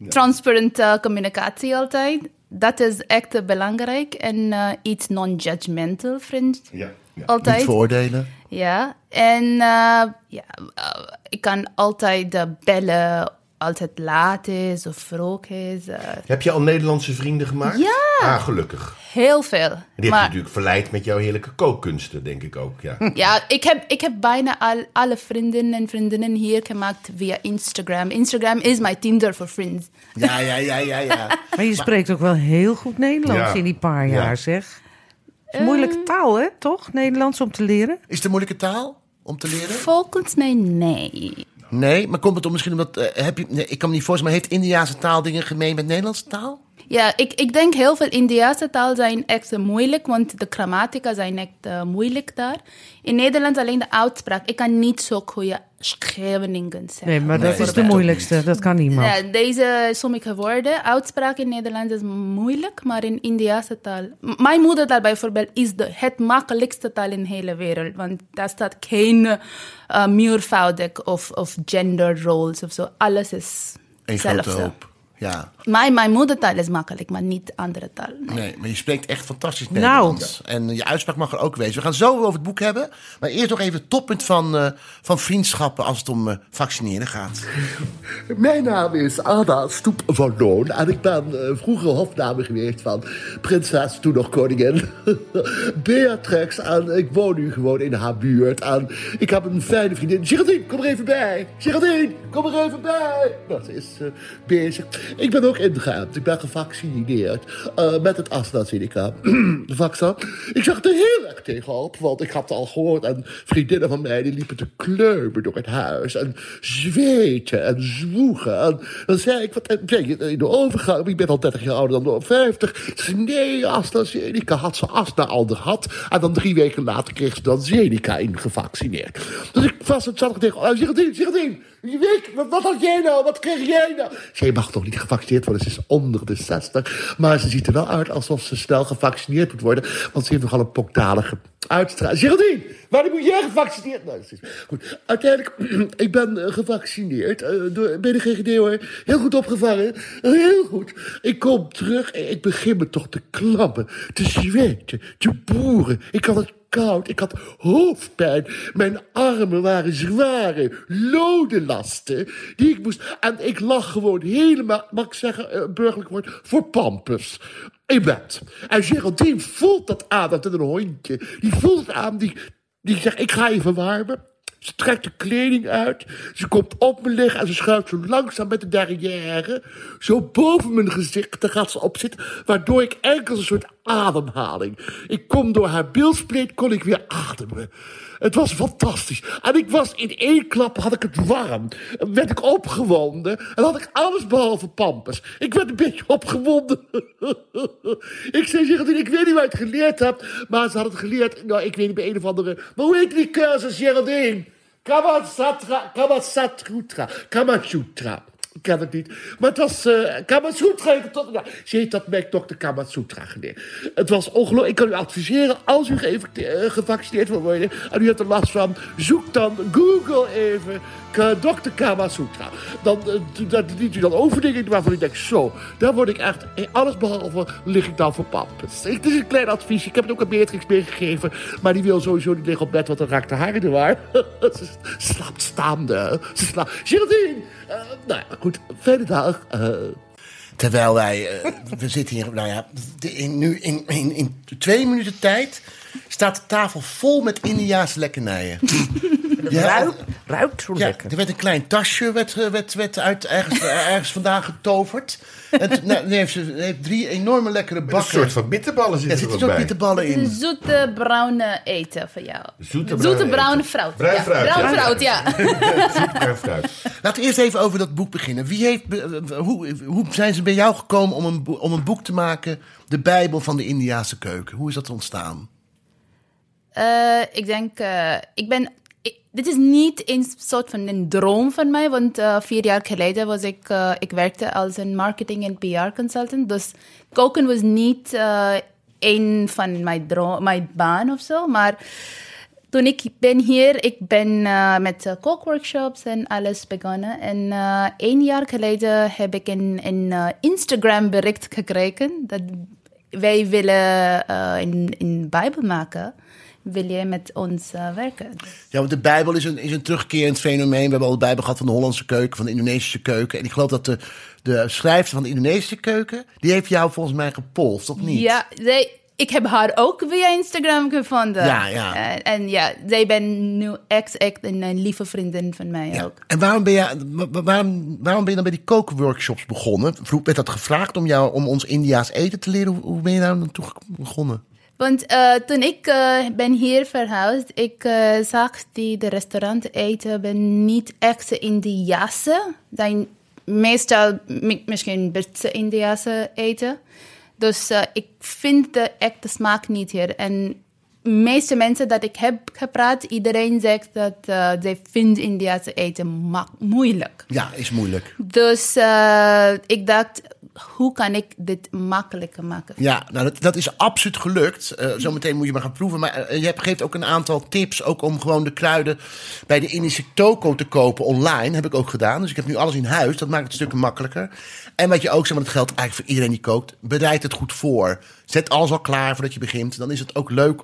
[SPEAKER 6] Transparante communicatie altijd. Dat is echt eh, belangrijk. En eh, iets non-judgmental vriend.
[SPEAKER 4] ja, ja.
[SPEAKER 7] Niet
[SPEAKER 6] Altijd.
[SPEAKER 7] veroordelen.
[SPEAKER 6] Ja. En eh, ja, eh, ik kan altijd eh, bellen als het laat is of vroeg is. eh,
[SPEAKER 4] Heb je al Nederlandse vrienden gemaakt?
[SPEAKER 6] Ja.
[SPEAKER 4] Ah, gelukkig.
[SPEAKER 6] heel veel.
[SPEAKER 4] En die heb je natuurlijk verleid met jouw heerlijke kookkunsten, denk ik ook. Ja.
[SPEAKER 6] Ja, ik heb, ik heb bijna al, alle vrienden en vriendinnen hier gemaakt via Instagram. Instagram is mijn Tinder voor friends.
[SPEAKER 7] Ja, ja, ja, ja, ja.
[SPEAKER 5] Maar je spreekt ook wel heel goed Nederlands
[SPEAKER 4] Ja.
[SPEAKER 5] in die paar jaar,
[SPEAKER 4] Ja.
[SPEAKER 5] zeg. Het is een moeilijke taal, hè? Toch? Nederlands om te leren?
[SPEAKER 7] Is het een moeilijke taal om te leren?
[SPEAKER 6] Volgens mij, nee.
[SPEAKER 7] Nee, maar komt het om misschien omdat... eh, heb je, nee, ik kan me niet voorstellen, maar heeft Indiaanse taal dingen gemeen met Nederlandse taal?
[SPEAKER 6] Ja, ik, ik denk heel veel Indiase taal zijn echt eh, moeilijk, want de grammatica zijn echt eh, moeilijk daar. In Nederland alleen de uitspraak. Ik kan niet zo goede schreeuwingen zeggen.
[SPEAKER 5] Nee, maar dat is de moeilijkste. Dat kan niemand.
[SPEAKER 6] Ja, deze sommige woorden, uitspraak in Nederland is moeilijk, maar in Indiase taal. M- Mijn moedertaal bijvoorbeeld is de, het makkelijkste taal in de hele wereld, want daar staat geen eh meervoudig of, of gender roles of zo. Alles is
[SPEAKER 7] Een grote
[SPEAKER 6] hetzelfde.
[SPEAKER 7] hoop. Ja,
[SPEAKER 6] Mijn, mijn moedertaal is makkelijk, maar niet andere taal.
[SPEAKER 1] Hmm.
[SPEAKER 6] nee.
[SPEAKER 7] nee, maar je spreekt echt fantastisch
[SPEAKER 5] Nou.
[SPEAKER 7] Nederlands. En eh, je uitspraak mag er ook wezen. We gaan zo over het boek hebben. Maar eerst nog even het toppunt van, eh, van vriendschappen als het om eh, vaccineren gaat.
[SPEAKER 1] Mijn naam is Ada Stoep van Loon en ik ben eh, vroeger hofdame geweest van prinses, toen nog koningin, Beatrix. En ik woon nu gewoon in haar buurt en ik heb een fijne vriendin. Geraldine, kom er even bij. Geraldine, kom er even bij. Nou, ze is eh, bezig. Ik ben ook ingeënt. Ik ben gevaccineerd eh, met het AstraZeneca vaccin. Ik zag er heel erg tegenop, want ik had het al gehoord en vriendinnen van mij die liepen te kleumen door het huis en zweten en zwoegen. En dan zei ik, wat ben je in de overgang? Ik ben al 30 jaar ouder dan de 50. Ze zei, nee, AstraZeneca had ze Astra al gehad. En dan drie weken later kreeg ze dan Zeneca ingevaccineerd. Dus ik was het zat ik tegen, oh, Geraldine, Geraldine, je weet, wat, wat had jij nou? Wat kreeg jij nou? Zij mag toch niet gevaccineerd worden? Ze is onder de 60. Maar ze ziet er wel uit alsof ze snel gevaccineerd moet worden. Want ze heeft nogal een pokdalige uitstraling. Geraldine, waarom moet jij gevaccineerd? Nou, dat is- goed. Uiteindelijk, ik ben eh, gevaccineerd eh, door, bij de GGD hoor. Heel goed opgevangen. Heel goed. Ik kom terug en ik begin me toch te klammen. Te zweten. Te boeren. Ik kan het koud. Ik had hoofdpijn. Mijn armen waren zware lodenlasten die ik moest... En ik lag gewoon helemaal, mag ik zeggen, eh, burgerlijk woord, voor pampers. In bed. En Geraldine voelt dat aan, dat is een hondje. Die voelt het aan, die, die zegt, ik ga je verwarmen. Ze trekt de kleding uit. Ze komt op me liggen en ze schuift zo langzaam met de derrière. Zo boven mijn gezicht. Daar gaat ze op zitten. Waardoor ik enkel een soort ademhaling. Ik kom door haar bilspleet, kon ik weer ademen. Het was fantastisch. En ik was in één klap, had ik het warm. En Werd ik opgewonden. En had ik alles behalve pampers. Ik werd een beetje opgewonden. ik zei Geraldine, ik weet niet waar je het geleerd hebt. Maar ze had het geleerd, nou ik weet niet, bij een of andere... Maar hoe heet die cursus, Geraldine? Kamasatra, Kamasatrutra, Kamasutra.
[SPEAKER 8] Ik ken het niet. Maar het was eh Kamasutra. Ik heb Tot, nou, ze heet dat merk Dr. Kamasutra. Meneer. Het was ongelooflijk. Ik kan u adviseren, als u geëfecte- eh, gevaccineerd wil worden en u hebt er last van, zoek dan Google even K- Dr. Kamasutra. Dan eh, d- dat liet u dan over dingen waarvan u denkt, zo, daar word ik echt, eh, alles behalve lig ik dan verpand. Het is een klein advies. Ik heb het ook aan Beatrix meegegeven, maar die wil sowieso niet liggen op bed, want dan raakt de haar in de war. Ze slaapt staande. Ze slaapt. Geraldine! Eh, nou ja, goed. Fijne dag. Eh,
[SPEAKER 1] Terwijl wij, eh, we zitten hier, nou ja, de- in, nu in, in, in twee minuten tijd staat de tafel vol met Indiaanse lekkernijen. Ja,
[SPEAKER 5] Ruikt, ruikt zo
[SPEAKER 1] ja,
[SPEAKER 5] lekker.
[SPEAKER 1] er werd een klein tasje werd, eh, werd, werd uit ergens, eh, ergens vandaan getoverd. En toen, nou, nu heeft ze heeft drie enorme lekkere
[SPEAKER 4] Een
[SPEAKER 1] bakken.
[SPEAKER 4] soort van bitterballen
[SPEAKER 1] ja,
[SPEAKER 4] zitten
[SPEAKER 1] zitten
[SPEAKER 4] er
[SPEAKER 1] er ook
[SPEAKER 4] ook bij.
[SPEAKER 1] bitterballen
[SPEAKER 6] Een
[SPEAKER 8] Mm.
[SPEAKER 1] in.
[SPEAKER 6] zoete bruine eten voor jou.
[SPEAKER 4] Zoete bruine
[SPEAKER 6] bruine,
[SPEAKER 4] eten.
[SPEAKER 6] fruit.
[SPEAKER 4] Bruin
[SPEAKER 6] ja.
[SPEAKER 4] fruit,
[SPEAKER 6] Bruin
[SPEAKER 4] ja.
[SPEAKER 6] fruit, ja.
[SPEAKER 4] Super fruit.
[SPEAKER 1] Laten we eerst even over dat boek beginnen. Wie heeft, be- eh, hoe, hoe zijn ze bij jou gekomen om een, bo- om een boek te maken? De Bijbel van de Indiaanse keuken. Hoe is dat ontstaan?
[SPEAKER 6] Eh, ik denk, eh, ik ben. ik- dit is niet een soort van een droom van mij, want eh, vier jaar geleden was ik, eh, ik werkte als een marketing en PR consultant. Dus koken was niet eh een van mijn, droom, mijn baan of zo. Maar toen ik ben hier, ik ben eh, met eh, kookworkshops en alles begonnen. En eh, één jaar geleden heb ik een, een eh, Instagram bericht gekregen dat wij willen eh, een, een Bijbel maken. Wil je met ons eh, werken?
[SPEAKER 1] Ja, want de Bijbel is een, is een terugkerend fenomeen. We hebben al de Bijbel gehad van de Hollandse keuken, van de Indonesische keuken. En ik geloof dat de, de schrijfster van de Indonesische keuken, die heeft jou volgens mij gepolst, of niet?
[SPEAKER 6] Ja, zij, ik heb haar ook via Instagram gevonden.
[SPEAKER 1] Ja, ja.
[SPEAKER 6] En, en ja, zij ben nu echt, echt een, eh, lieve vriendin van mij
[SPEAKER 1] Ja.
[SPEAKER 6] ook.
[SPEAKER 1] En waarom ben, je, wa- wa- waarom, waarom ben je dan bij die kookworkshops begonnen? Vroeg, werd dat gevraagd om, jou, om ons Indiaas eten te leren? Hoe, hoe ben je daar naartoe ge- begonnen?
[SPEAKER 6] Want eh, toen ik eh, ben hier verhuisd, ik eh, zag die de restaurant eten ben niet echt Indiase. Zijn meestal mi- misschien Britse Indiase eten. Dus eh, ik vind de echte smaak niet hier. En de meeste mensen dat ik heb gepraat, iedereen zegt dat eh zij vindt Indiase eten ma- moeilijk.
[SPEAKER 1] Ja, is moeilijk.
[SPEAKER 6] Dus eh, ik dacht, hoe kan ik dit makkelijker maken?
[SPEAKER 1] Ja, nou, dat, dat is absoluut gelukt. Eh, Zometeen moet je maar gaan proeven. Maar eh, je hebt- geeft ook een aantal tips. Ook om gewoon de kruiden bij de Indische toko te kopen online. Heb ik ook gedaan. Dus ik heb nu alles in huis. Dat maakt het stukken makkelijker. En wat je ook, zeg maar, dat geldt eigenlijk voor iedereen die kookt. Bereid het goed voor. Zet alles al klaar voordat je begint. Dan is het ook leuk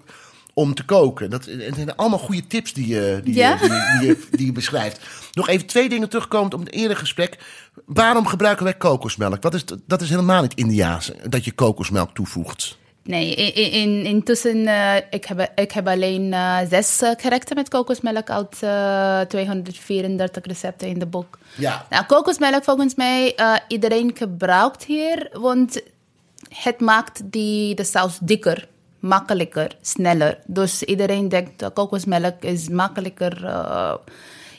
[SPEAKER 1] om te koken. Dat het zijn allemaal goede tips die je, die, je-
[SPEAKER 6] Ja?
[SPEAKER 1] die, je- die je, die je beschrijft. Nog even twee dingen terugkomend op het eerder gesprek. Waarom gebruiken wij kokosmelk? Wat is, het- dat is helemaal niet Indiaas, dat je kokosmelk toevoegt.
[SPEAKER 6] Nee, in, in- in, intussen, eh, ik, heb, ik heb alleen eh, zes eh, gerechten met kokosmelk uit eh, 234 recepten in de boek.
[SPEAKER 1] Ja.
[SPEAKER 6] Nou, kokosmelk volgens mij eh, iedereen gebruikt hier, want het maakt die, de saus dikker, makkelijker, sneller. Dus iedereen denkt eh, kokosmelk is makkelijker eh,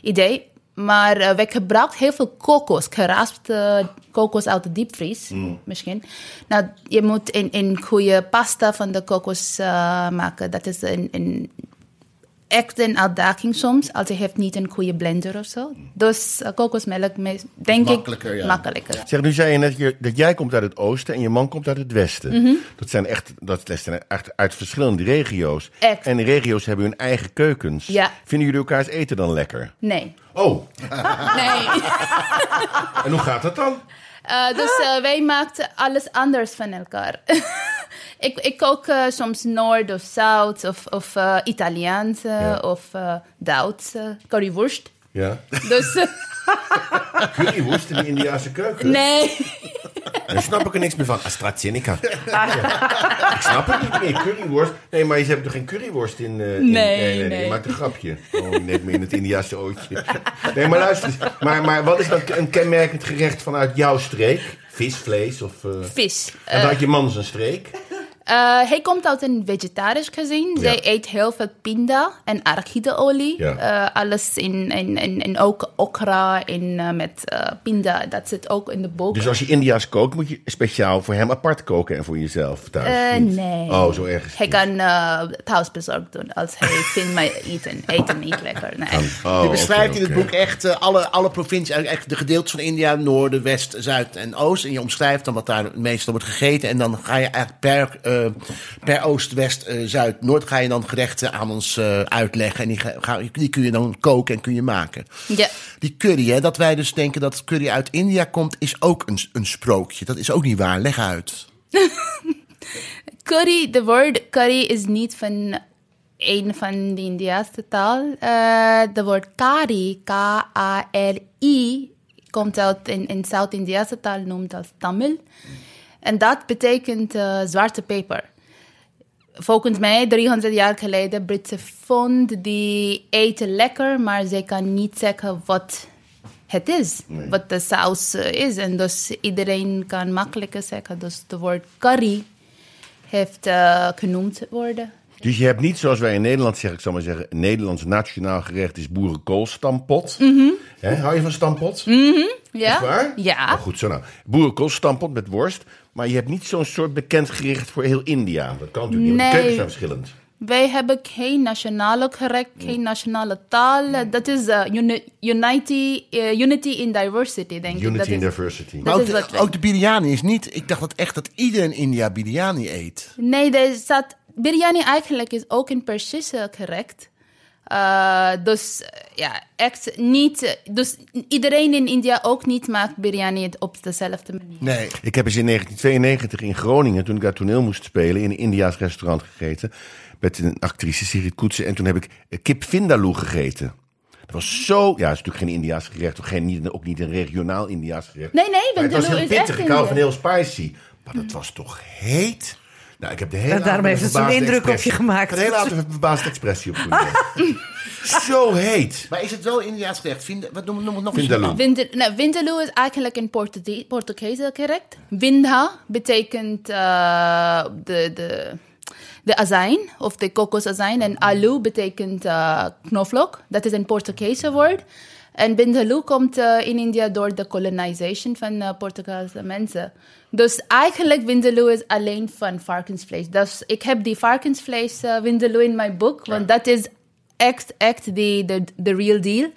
[SPEAKER 6] idee. Maar eh, wij gebruiken heel veel kokos, geraspte kokos uit de diepvries
[SPEAKER 1] Mm.
[SPEAKER 6] misschien. Nou, je moet een, een goede pasta van de kokos eh, maken. Dat is een, een echt een uitdaging soms, als je hebt niet een goede blender of zo. Dus eh, kokosmelk, me- denk
[SPEAKER 1] Makkelijker,
[SPEAKER 6] ik,
[SPEAKER 1] ja.
[SPEAKER 6] makkelijker.
[SPEAKER 4] Zeg, nu zei je net je- dat jij komt uit het oosten en je man komt uit het westen.
[SPEAKER 6] Mhm.
[SPEAKER 4] Dat zijn echt, dat zijn echt uit verschillende regio's.
[SPEAKER 6] Echt.
[SPEAKER 4] En die regio's hebben hun eigen keukens.
[SPEAKER 6] Ja.
[SPEAKER 4] Vinden jullie elkaars eten dan lekker?
[SPEAKER 6] Nee,
[SPEAKER 4] Oh,
[SPEAKER 6] nee.
[SPEAKER 4] en hoe gaat dat dan?
[SPEAKER 6] Eh, dus eh, wij maakten alles anders van elkaar. ik, ik kook eh, soms Noord of Zuid of, of eh, Italiaans eh,
[SPEAKER 4] Ja.
[SPEAKER 6] of eh Duits, eh, currywurst.
[SPEAKER 4] Ja.
[SPEAKER 6] Dus eh,
[SPEAKER 4] Currywoest in de Indiaanse keuken.
[SPEAKER 6] nee.
[SPEAKER 4] Daar snap ik er niks meer van. AstraZeneca. Ja. Ik snap het niet meer. Curryworst. Nee, maar je hebt toch geen curryworst in... eh, in-
[SPEAKER 6] Nee,
[SPEAKER 4] nee, nee.
[SPEAKER 6] nee.
[SPEAKER 4] Je maakt een grapje. Oh, net meer in het Indiaanse ootje. Nee, maar luister. Maar, maar wat is dan een kenmerkend gerecht vanuit jouw streek? Vis, vlees of... eh,
[SPEAKER 6] Vis.
[SPEAKER 4] En dan had je man zijn streek.
[SPEAKER 6] Eh, hij komt uit een vegetarisch gezin. Zij eet heel veel pinda en arachideolie.
[SPEAKER 4] Ja.
[SPEAKER 6] Eh, alles in, in, in, in ook okra en eh, met eh, pinda. Dat zit ook in de boek.
[SPEAKER 4] Dus als je India's kookt, moet je speciaal voor hem apart koken en voor jezelf thuis?
[SPEAKER 6] Eh,
[SPEAKER 4] niet?
[SPEAKER 6] nee.
[SPEAKER 4] Oh, zo erg.
[SPEAKER 6] Hij kan thuis thuisbezorgd doen als hij vindt mij eten, eten niet lekker. Nee.
[SPEAKER 4] Oh,
[SPEAKER 3] je beschrijft
[SPEAKER 4] oké,
[SPEAKER 3] in het
[SPEAKER 4] oké.
[SPEAKER 3] boek echt eh, alle, alle provincies, eigenlijk echt de gedeeltes van India, noorden, west, zuid en oost. En je omschrijft dan wat daar het meestal wordt gegeten. En dan ga je eigenlijk per, eh, per oost, west, eh, zuid, noord ga je dan gerechten aan ons eh, uitleggen. En die, ga- ga- die kun je dan koken en kun je maken.
[SPEAKER 6] Ja.
[SPEAKER 3] Die curry, hè, dat wij dus denken dat curry uit India komt, is ook een, een sprookje. Dat is ook niet waar. Leg uit.
[SPEAKER 6] Curry, de woord curry is niet van een van de Indiaanse taal. Eh, De woord kari, K-A-R-I, komt uit in, in Zuid-Indiaanse taal, noemt als Tamil. En dat betekent eh, zwarte peper. Volgens mij, 300 jaar geleden, Britse vond die eten lekker, maar zij kan niet zeggen wat het is, wat de saus eh, is. En dus iedereen kan makkelijker zeggen, dus de woord curry heeft eh, genoemd worden.
[SPEAKER 4] Dus je hebt niet, zoals wij in Nederland zeggen, ik zal maar zeggen, een Nederlands nationaal gerecht is boerenkoolstampot.
[SPEAKER 6] Mhm.
[SPEAKER 4] Hè, hou je van stampot?
[SPEAKER 6] Ja?
[SPEAKER 4] Echt waar?
[SPEAKER 6] Ja.
[SPEAKER 4] Oh, goed zo nou. Boerenkoolstampot met worst. Maar je hebt niet zo'n soort bekend gerecht voor heel India. Dat kan natuurlijk niet, want de
[SPEAKER 6] Nee.
[SPEAKER 4] keukens zijn verschillend.
[SPEAKER 6] Wij hebben geen nationale gerecht, geen nationale taal. Dat is eh, uni- unity, eh, unity in diversity, denk ik. Dat
[SPEAKER 4] Unity and
[SPEAKER 6] is-
[SPEAKER 4] diversity.
[SPEAKER 3] Maar
[SPEAKER 6] Dat
[SPEAKER 3] ook
[SPEAKER 6] is wat
[SPEAKER 3] de,
[SPEAKER 6] wij-
[SPEAKER 3] ook de biryani is niet... Ik dacht dat echt dat iedereen in India biryani eet.
[SPEAKER 6] Nee, er staat, biryani eigenlijk is ook een Persische gerecht. Eh, dus eh, ja, echt niet. eh, Dus iedereen in India ook niet maakt biryani op dezelfde manier.
[SPEAKER 3] Nee.
[SPEAKER 4] Ik heb eens in 1992 in Groningen, toen ik daar toneel moest spelen, in een Indiaas restaurant gegeten. Met een actrice, Sigrid Koetsen. En toen heb ik eh, kip vindaloo gegeten. Dat was zo... Ja, het is natuurlijk geen Indiaas gerecht. Ook, geen, niet- ook niet een regionaal Indiaas gerecht.
[SPEAKER 6] Nee, nee,
[SPEAKER 4] Maar het was
[SPEAKER 6] vindaloo
[SPEAKER 4] heel
[SPEAKER 6] is echt
[SPEAKER 4] pittig. Ik hou van
[SPEAKER 6] India.
[SPEAKER 4] heel spicy. Maar dat was toch heet? Nou, ik heb de hele
[SPEAKER 5] En Hm. daarom
[SPEAKER 4] avond
[SPEAKER 5] heeft
[SPEAKER 4] een
[SPEAKER 5] het zo'n
[SPEAKER 4] verbaasde
[SPEAKER 5] indruk op je
[SPEAKER 4] expressie-
[SPEAKER 5] gemaakt.
[SPEAKER 4] De hele avond heb ik een verbaasde expressie op kunnen Zo heet.
[SPEAKER 3] Maar is het wel Indiaas gerecht? Vind, wat noemen we nog eens?
[SPEAKER 4] Vindaloo.
[SPEAKER 6] Winde- nou, Vindaloo is eigenlijk een Portugese Portugese correct. Winda betekent eh, de, de, de azijn of de kokosazijn. En alu betekent eh knoflook. Dat is een Portugese woord. En Vindaloo komt eh, in India door de colonization van eh Portugese mensen. Dus eigenlijk Vindaloo is alleen van varkensvlees. Dus ik heb die varkensvlees eh Vindaloo in mijn boek. Want dat is echt, echt de, de, de real deal.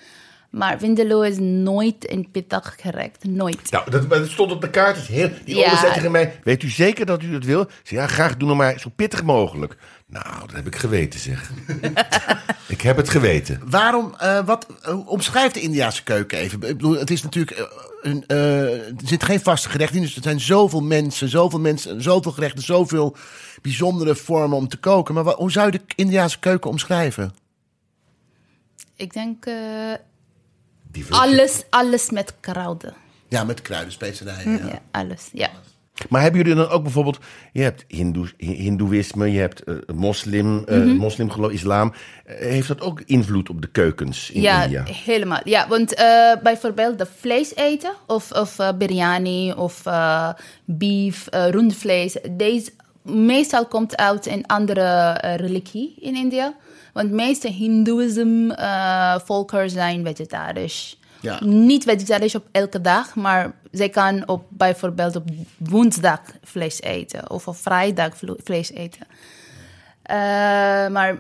[SPEAKER 6] Maar Vindaloo is nooit een pittig gerecht. Nooit.
[SPEAKER 4] Nou, dat, maar dat stond op de kaart. Dus heel, die
[SPEAKER 6] Ja.
[SPEAKER 4] oma zei tegen mij, weet u zeker dat u dat wil? Ik zei, ja, graag, doe nog maar zo pittig mogelijk. Nou, dat heb ik geweten, zeg. ik heb het geweten.
[SPEAKER 3] Waarom, eh, wat, eh, omschrijf de Indiaanse keuken even. Ik bedoel, het is natuurlijk, eh, een, eh, er zit geen vaste gerecht in, dus er zijn zoveel mensen, zoveel mensen, zoveel gerechten, zoveel bijzondere vormen om te koken. Maar wa- hoe zou je de Indiaanse keuken omschrijven?
[SPEAKER 6] Ik denk eh,
[SPEAKER 4] Die vult-
[SPEAKER 6] alles, alles met kruiden.
[SPEAKER 3] Ja, met kruiden, specerijen.
[SPEAKER 6] Ja.
[SPEAKER 3] Ja.
[SPEAKER 6] alles. Ja.
[SPEAKER 4] Maar hebben jullie dan ook bijvoorbeeld... Je hebt Hindoes, Hi- hindoeïsme, je hebt eh, moslim, eh
[SPEAKER 6] Mhm.
[SPEAKER 4] moslimgeloof, islam. Eh, heeft dat ook invloed op de keukens in
[SPEAKER 6] ja,
[SPEAKER 4] India?
[SPEAKER 6] helemaal. Ja, want eh, bijvoorbeeld de vlees eten of, of eh, biryani of eh, beef, eh rundvlees. Deze meestal komt uit een andere eh, religie in India. Want meeste hindoeïsme eh volkeren zijn vegetarisch.
[SPEAKER 3] Ja.
[SPEAKER 6] Niet vegetarisch op elke dag, maar zij kan op, bijvoorbeeld op woensdag vlees eten of op vrijdag vlo- vlees eten. Eh, maar eh,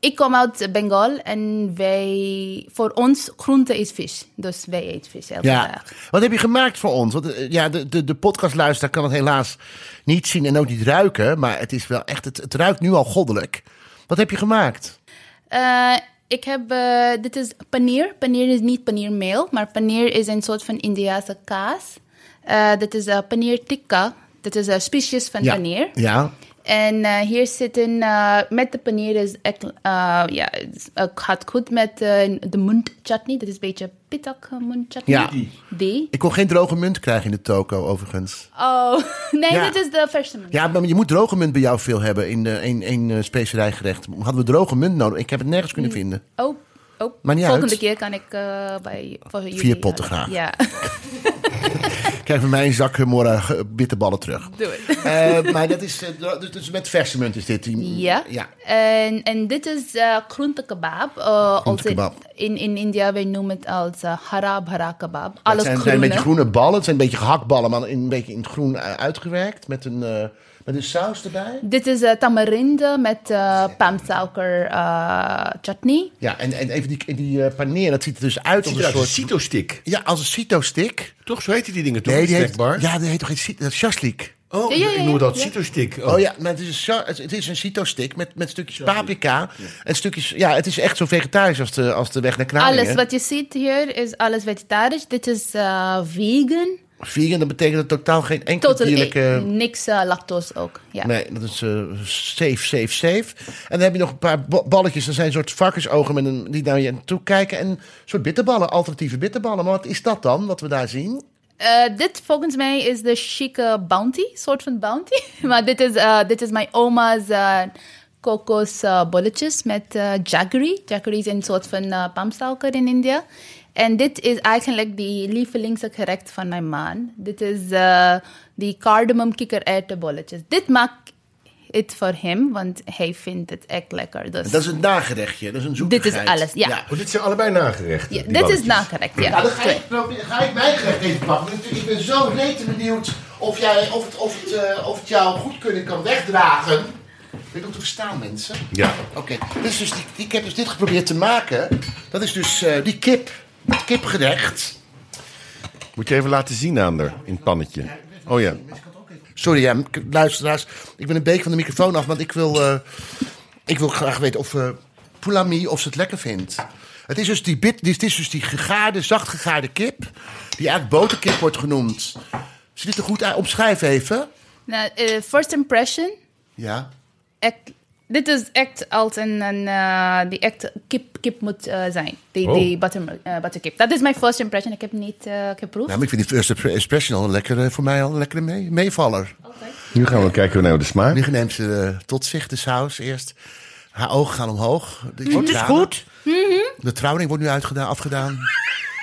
[SPEAKER 6] ik kom uit Bengal en wij, voor ons groente is vis. Dus wij eten vis elke
[SPEAKER 3] Ja,
[SPEAKER 6] dag.
[SPEAKER 3] wat heb je gemaakt voor ons? Want eh, ja, de, de, de podcastluisteraar kan het helaas niet zien en ook niet ruiken. Maar het is wel echt, het, het ruikt nu al goddelijk. Wat heb je gemaakt?
[SPEAKER 6] Eh, ik heb, eh, dit is paneer. Paneer is niet paneermeel, maar paneer is een soort van Indiase kaas. Eh, dit is eh paneer tikka. Dit is een species van
[SPEAKER 3] Ja.
[SPEAKER 6] paneer.
[SPEAKER 3] Ja,
[SPEAKER 6] En eh, hier zitten, eh, met de paneer is echt, eh, ja, het is- eh, gaat goed met eh, de munt chutney. Dat is een beetje pittig eh, munt chutney.
[SPEAKER 3] Ja.
[SPEAKER 6] Die.
[SPEAKER 3] ik kon geen droge munt krijgen in de toko overigens.
[SPEAKER 6] Oh, nee,
[SPEAKER 3] Ja.
[SPEAKER 6] dit is de verse munt.
[SPEAKER 3] Ja, maar je moet droge munt bij jou veel hebben in eh, één één, eh, specerijgerecht. Hadden we droge munt nodig? Ik heb het nergens kunnen vinden.
[SPEAKER 6] Oh, oh.
[SPEAKER 3] Maar niet
[SPEAKER 6] volgende
[SPEAKER 3] uit.
[SPEAKER 6] keer kan ik eh, bij voor jullie
[SPEAKER 3] Vier potten
[SPEAKER 6] halen.
[SPEAKER 3] graag.
[SPEAKER 6] Ja.
[SPEAKER 1] krijg van mijn zak morgen eh, bitterballen terug.
[SPEAKER 6] Doe het.
[SPEAKER 1] Eh, maar dat is, eh, dus, dus met verse munt is dit. die-
[SPEAKER 6] Ja.
[SPEAKER 1] ja.
[SPEAKER 6] En, en dit is eh groente kebab. Eh, als in-
[SPEAKER 1] kebab.
[SPEAKER 6] In, in India, wij noemen het als eh, hara bhara kebab.
[SPEAKER 1] Het
[SPEAKER 6] Alles
[SPEAKER 1] zijn, zijn
[SPEAKER 6] groene.
[SPEAKER 1] een beetje groene ballen. Het zijn een beetje gehaktballen, maar een beetje in het groen eh, uitgewerkt. Met een, eh, met een saus erbij.
[SPEAKER 6] Dit is eh, tamarinde met eh palmsuiker eh, chutney.
[SPEAKER 1] Ja, en, en even die, en die eh, paneer, dat ziet er dus uit als een soort...
[SPEAKER 4] cito-stick.
[SPEAKER 1] Ja, als een cito-stick.
[SPEAKER 4] Toch, zo heette die dingen toch?
[SPEAKER 1] Nee, die heet,
[SPEAKER 4] Snackbar?
[SPEAKER 1] ja, die heet toch geen cito, dat is shashlik.
[SPEAKER 4] Oh,
[SPEAKER 6] Ja, ja, ja,
[SPEAKER 4] ik noem dat
[SPEAKER 6] ja.
[SPEAKER 4] cito-stick. Oh.
[SPEAKER 1] Oh ja, maar het is een, sha- het- het is een cito-stick met, met stukjes paprika en stukjes... Ja, het is echt zo vegetarisch als de, als de weg naar Kralingen.
[SPEAKER 6] Alles wat je ziet hier is alles vegetarisch. Dit is eh, vegan.
[SPEAKER 1] Vegan, dat betekent dat totaal geen enkel
[SPEAKER 6] Totaal
[SPEAKER 1] dierlijke...
[SPEAKER 6] niks eh, lactose ook. Ja.
[SPEAKER 1] Nee, dat is eh, safe, safe, safe. En dan heb je nog een paar ba- balletjes. Dat zijn een soort varkensogen met een, die naar je toe kijken. En een soort bitterballen, alternatieve bitterballen. Maar wat is dat dan, wat we daar zien?
[SPEAKER 6] Eh, dit volgens mij is de chique bounty, soort van bounty. maar dit is, eh, dit is mijn oma's eh kokosbolletjes met eh, jaggery. Jaggery is een soort van eh palmsuiker in India. En dit is eigenlijk die lievelingse gerecht van mijn man. Dit is eh, die cardamom kikkererwtenbolletjes. Dit maakt het voor hem, want hij vindt het echt lekker. Dus
[SPEAKER 1] Dat is een nagerechtje, dat is een
[SPEAKER 6] dit
[SPEAKER 1] zoetigheid.
[SPEAKER 6] is alles, ja.
[SPEAKER 4] Oh, dit zijn allebei nagerechten.
[SPEAKER 6] Ja,
[SPEAKER 4] die
[SPEAKER 6] dit is
[SPEAKER 4] balletjes.
[SPEAKER 6] nagerecht, ja.
[SPEAKER 1] Ja, dan ga ik, proberen- ga ik mijn gerecht even pakken. Ik- Ik ben zo rete benieuwd of, jij, of, het, of, het, eh, of het jou goed kunnen kan wegdragen. Dit doet toch staan, mensen?
[SPEAKER 4] Ja.
[SPEAKER 1] Oké, dit is dus die- ik heb dus dit geprobeerd te maken. Dat is dus eh, die kip, het kipgerecht.
[SPEAKER 4] Moet je even laten zien aan haar, in het pannetje. Oh ja.
[SPEAKER 1] Sorry, ja, k- luisteraars. Ik ben een beek van de microfoon af, want ik wil, eh, ik wil graag weten of eh Poulami of ze het lekker vindt. Het is dus die, bit, dit is dus die gegaarde, zacht gegaarde kip. Die eigenlijk boterkip wordt genoemd. Ziet het er goed uit? Omschrijf even.
[SPEAKER 6] Nou, eh, first impression,
[SPEAKER 1] Ja.
[SPEAKER 6] echt, dit is echt als een, een eh, die echt kip, kip moet eh, zijn. Die,
[SPEAKER 4] Oh.
[SPEAKER 6] die butter, eh, butterkip. Dat is mijn first impression. Ik heb niet eh, geproefd.
[SPEAKER 1] Nou, maar ik vind die first impre- impression al een lekkere, voor mij al een lekkere mee, meevaller.
[SPEAKER 4] Nu gaan we kijken naar de smaak.
[SPEAKER 1] Nu neemt ze eh, tot zich de saus eerst. Haar ogen gaan omhoog. De-
[SPEAKER 5] Het is
[SPEAKER 1] tranen.
[SPEAKER 5] goed.
[SPEAKER 1] De trouwring wordt nu uitgedaan, afgedaan.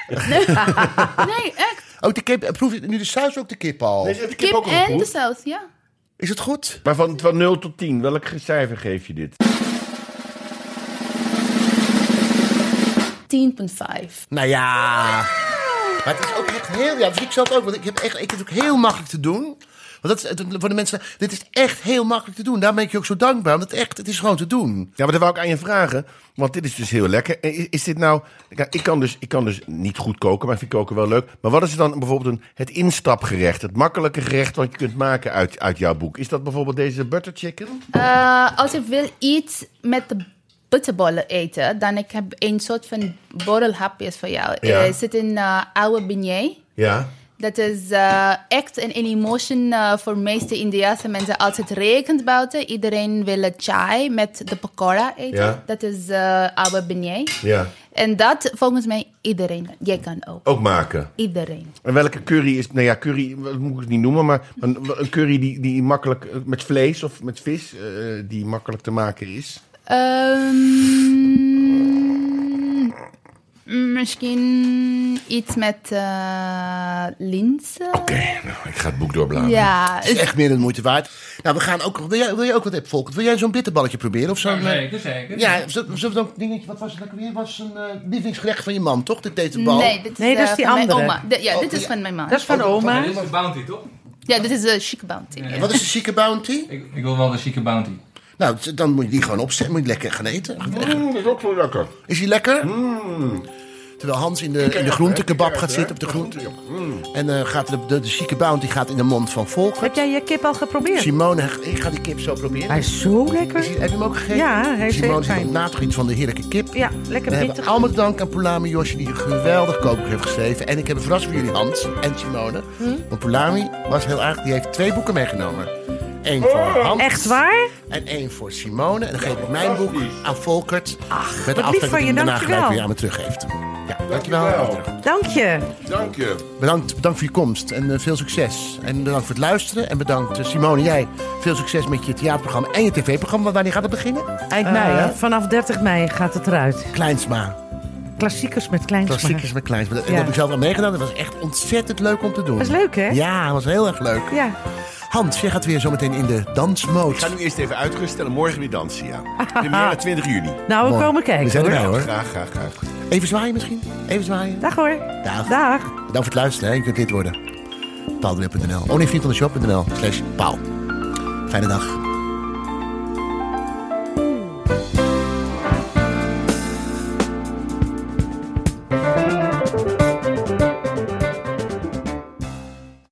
[SPEAKER 6] Nee, echt.
[SPEAKER 1] Ook de kip, eh, proef je nu de saus ook de kip al?
[SPEAKER 6] Kip en de saus, ja.
[SPEAKER 1] Is het goed?
[SPEAKER 4] Maar van, van 0 tot 10, welk cijfer geef je dit?
[SPEAKER 6] 10,5.
[SPEAKER 1] Nou ja. Maar het is ook echt heel. Ja, dus ik zat ook. Want ik heb echt. Ik vind het ook heel makkelijk te doen. Want dat is, het- voor de mensen. Dit is echt heel makkelijk te doen. Daar ben ik je ook zo dankbaar. Want het, echt, het is gewoon te doen.
[SPEAKER 4] Ja, maar dat wou ik aan je vragen, want dit is dus heel lekker. En Is, is dit nou... Kijk, Ik kan, dus, ik kan dus niet goed koken, maar ik vind koken wel leuk. Maar wat is dan bijvoorbeeld een, het instapgerecht? Het makkelijke gerecht wat je kunt maken uit, uit jouw boek. Is dat bijvoorbeeld deze butter chicken?
[SPEAKER 6] Eh, als ik wil iets met de bitterballen eten, dan ik heb een soort van borrelhapjes voor jou.
[SPEAKER 4] Ja.
[SPEAKER 6] Er zit een eh, oude beignet.
[SPEAKER 4] Ja.
[SPEAKER 6] Dat is eh, echt een, een emotion eh, voor meeste Indiase mensen. Als het regent buiten, iedereen wil een chai met de pakora eten.
[SPEAKER 4] Ja.
[SPEAKER 6] Dat is eh oude beignet.
[SPEAKER 4] Ja.
[SPEAKER 6] En dat volgens mij iedereen. Jij kan ook.
[SPEAKER 4] Ook maken.
[SPEAKER 6] Iedereen.
[SPEAKER 4] En welke curry is... Nou ja, curry wat moet ik het niet noemen, maar een, een curry die, die makkelijk... eh, Met vlees of met vis, eh, die makkelijk te maken is.
[SPEAKER 6] Ehm, misschien iets met eh linzen.
[SPEAKER 4] Oké, nou, ik ga het boek doorbladeren.
[SPEAKER 6] Ja,
[SPEAKER 1] Het is echt meer dan de moeite waard. Nou, we gaan ook. Wil jij, wil jij ook wat hebben, Volkert? Wil jij zo'n bitterballetje proberen? Of zo'n. eh,
[SPEAKER 9] Zeker, zeker.
[SPEAKER 1] Ja, z- zullen we dan dingetje, wat was het lekker weer? Was een eh, lievelingsgerecht van je man, toch? Dit deed de bal.
[SPEAKER 6] Nee, dit is,
[SPEAKER 5] Nee, dat is
[SPEAKER 6] eh,
[SPEAKER 5] die
[SPEAKER 6] van mijn
[SPEAKER 5] andere.
[SPEAKER 6] oma. De- ja,
[SPEAKER 1] Oh,
[SPEAKER 6] dit is
[SPEAKER 1] ja.
[SPEAKER 6] van mijn man.
[SPEAKER 5] Dat is van oma.
[SPEAKER 9] Dit is een bounty, toch?
[SPEAKER 6] Ja, dit is een chic bounty.
[SPEAKER 9] Ja.
[SPEAKER 6] ja.
[SPEAKER 1] Wat is een chique bounty?
[SPEAKER 9] Ik, ik wil wel een chique bounty.
[SPEAKER 1] Nou, t- dan moet je die gewoon opzetten. Moet je lekker gaan eten.
[SPEAKER 4] Mm, dat is ook zo lekker.
[SPEAKER 1] Is die lekker? Mm. Terwijl Hans in de, in de groentekebab gaat zitten op de groente. En eh, gaat de, de, de chique bounty gaat in de mond van Volker.
[SPEAKER 5] Heb jij je kip al geprobeerd?
[SPEAKER 1] Simone, ik ga die kip zo proberen.
[SPEAKER 5] Hij is zo
[SPEAKER 1] Is die-
[SPEAKER 5] lekker.
[SPEAKER 1] heb je hem ook gegeten?
[SPEAKER 5] Ja, hij is
[SPEAKER 1] Simone
[SPEAKER 5] heel
[SPEAKER 1] is
[SPEAKER 5] fijn.
[SPEAKER 1] een natriet van de heerlijke kip.
[SPEAKER 5] Ja, lekker
[SPEAKER 1] We hebben
[SPEAKER 5] pittig.
[SPEAKER 1] allemaal te danken aan Poulami Josje, die een geweldig kookboek heeft geschreven. En ik heb een verrassing voor jullie, Hans en Simone.
[SPEAKER 5] Hm?
[SPEAKER 1] Want Poulami was heel aardig, die heeft twee boeken meegenomen. Eén voor Hans.
[SPEAKER 5] Oh. Echt waar?
[SPEAKER 1] En één voor Simone. En dan geef ik mijn boek aan Volkert. Ach, Met de
[SPEAKER 5] wat lief
[SPEAKER 1] afspraak dat
[SPEAKER 5] van
[SPEAKER 1] hij
[SPEAKER 5] je,
[SPEAKER 1] hem daarna
[SPEAKER 5] dankjewel.
[SPEAKER 1] gelijk weer aan me teruggeeft. Ja, dankjewel.
[SPEAKER 5] Dank je.
[SPEAKER 4] Dank je.
[SPEAKER 1] Bedankt, bedankt voor je komst en eh, veel succes. En bedankt voor het luisteren. En bedankt, eh, Simone, jij. Veel succes met je theaterprogramma en je tv-programma. Want Wanneer gaat het beginnen? Eind mei,
[SPEAKER 5] Eh,
[SPEAKER 1] hè?
[SPEAKER 5] vanaf 30 mei gaat het eruit.
[SPEAKER 1] Kleinsma.
[SPEAKER 5] Klassiekers met kleins
[SPEAKER 1] Klassiekers met kleins. En dat
[SPEAKER 5] Ja.
[SPEAKER 1] heb ik zelf al meegedaan. Dat was echt ontzettend leuk om te doen.
[SPEAKER 5] Dat is leuk, hè?
[SPEAKER 1] Ja, dat was heel erg leuk.
[SPEAKER 5] Ja.
[SPEAKER 1] Hans, jij gaat weer zometeen in de dansmode.
[SPEAKER 4] Ik ga nu eerst even uitrusten en morgen weer dansen, ja. Première 20 juni.
[SPEAKER 5] Nou, we
[SPEAKER 1] Mooi.
[SPEAKER 5] komen
[SPEAKER 1] We
[SPEAKER 5] kijken
[SPEAKER 1] zijn
[SPEAKER 5] hoor.
[SPEAKER 1] erbij hoor.
[SPEAKER 4] Graag, graag, graag.
[SPEAKER 1] Even zwaaien misschien? Even zwaaien.
[SPEAKER 5] Dag hoor.
[SPEAKER 1] Dag.
[SPEAKER 5] Dag.
[SPEAKER 1] Dan voor het luisteren, hè. je kunt lid worden. Paaldweer.nl. Oh nee, vriend van de shop.nl. Slash paal. Fijne dag.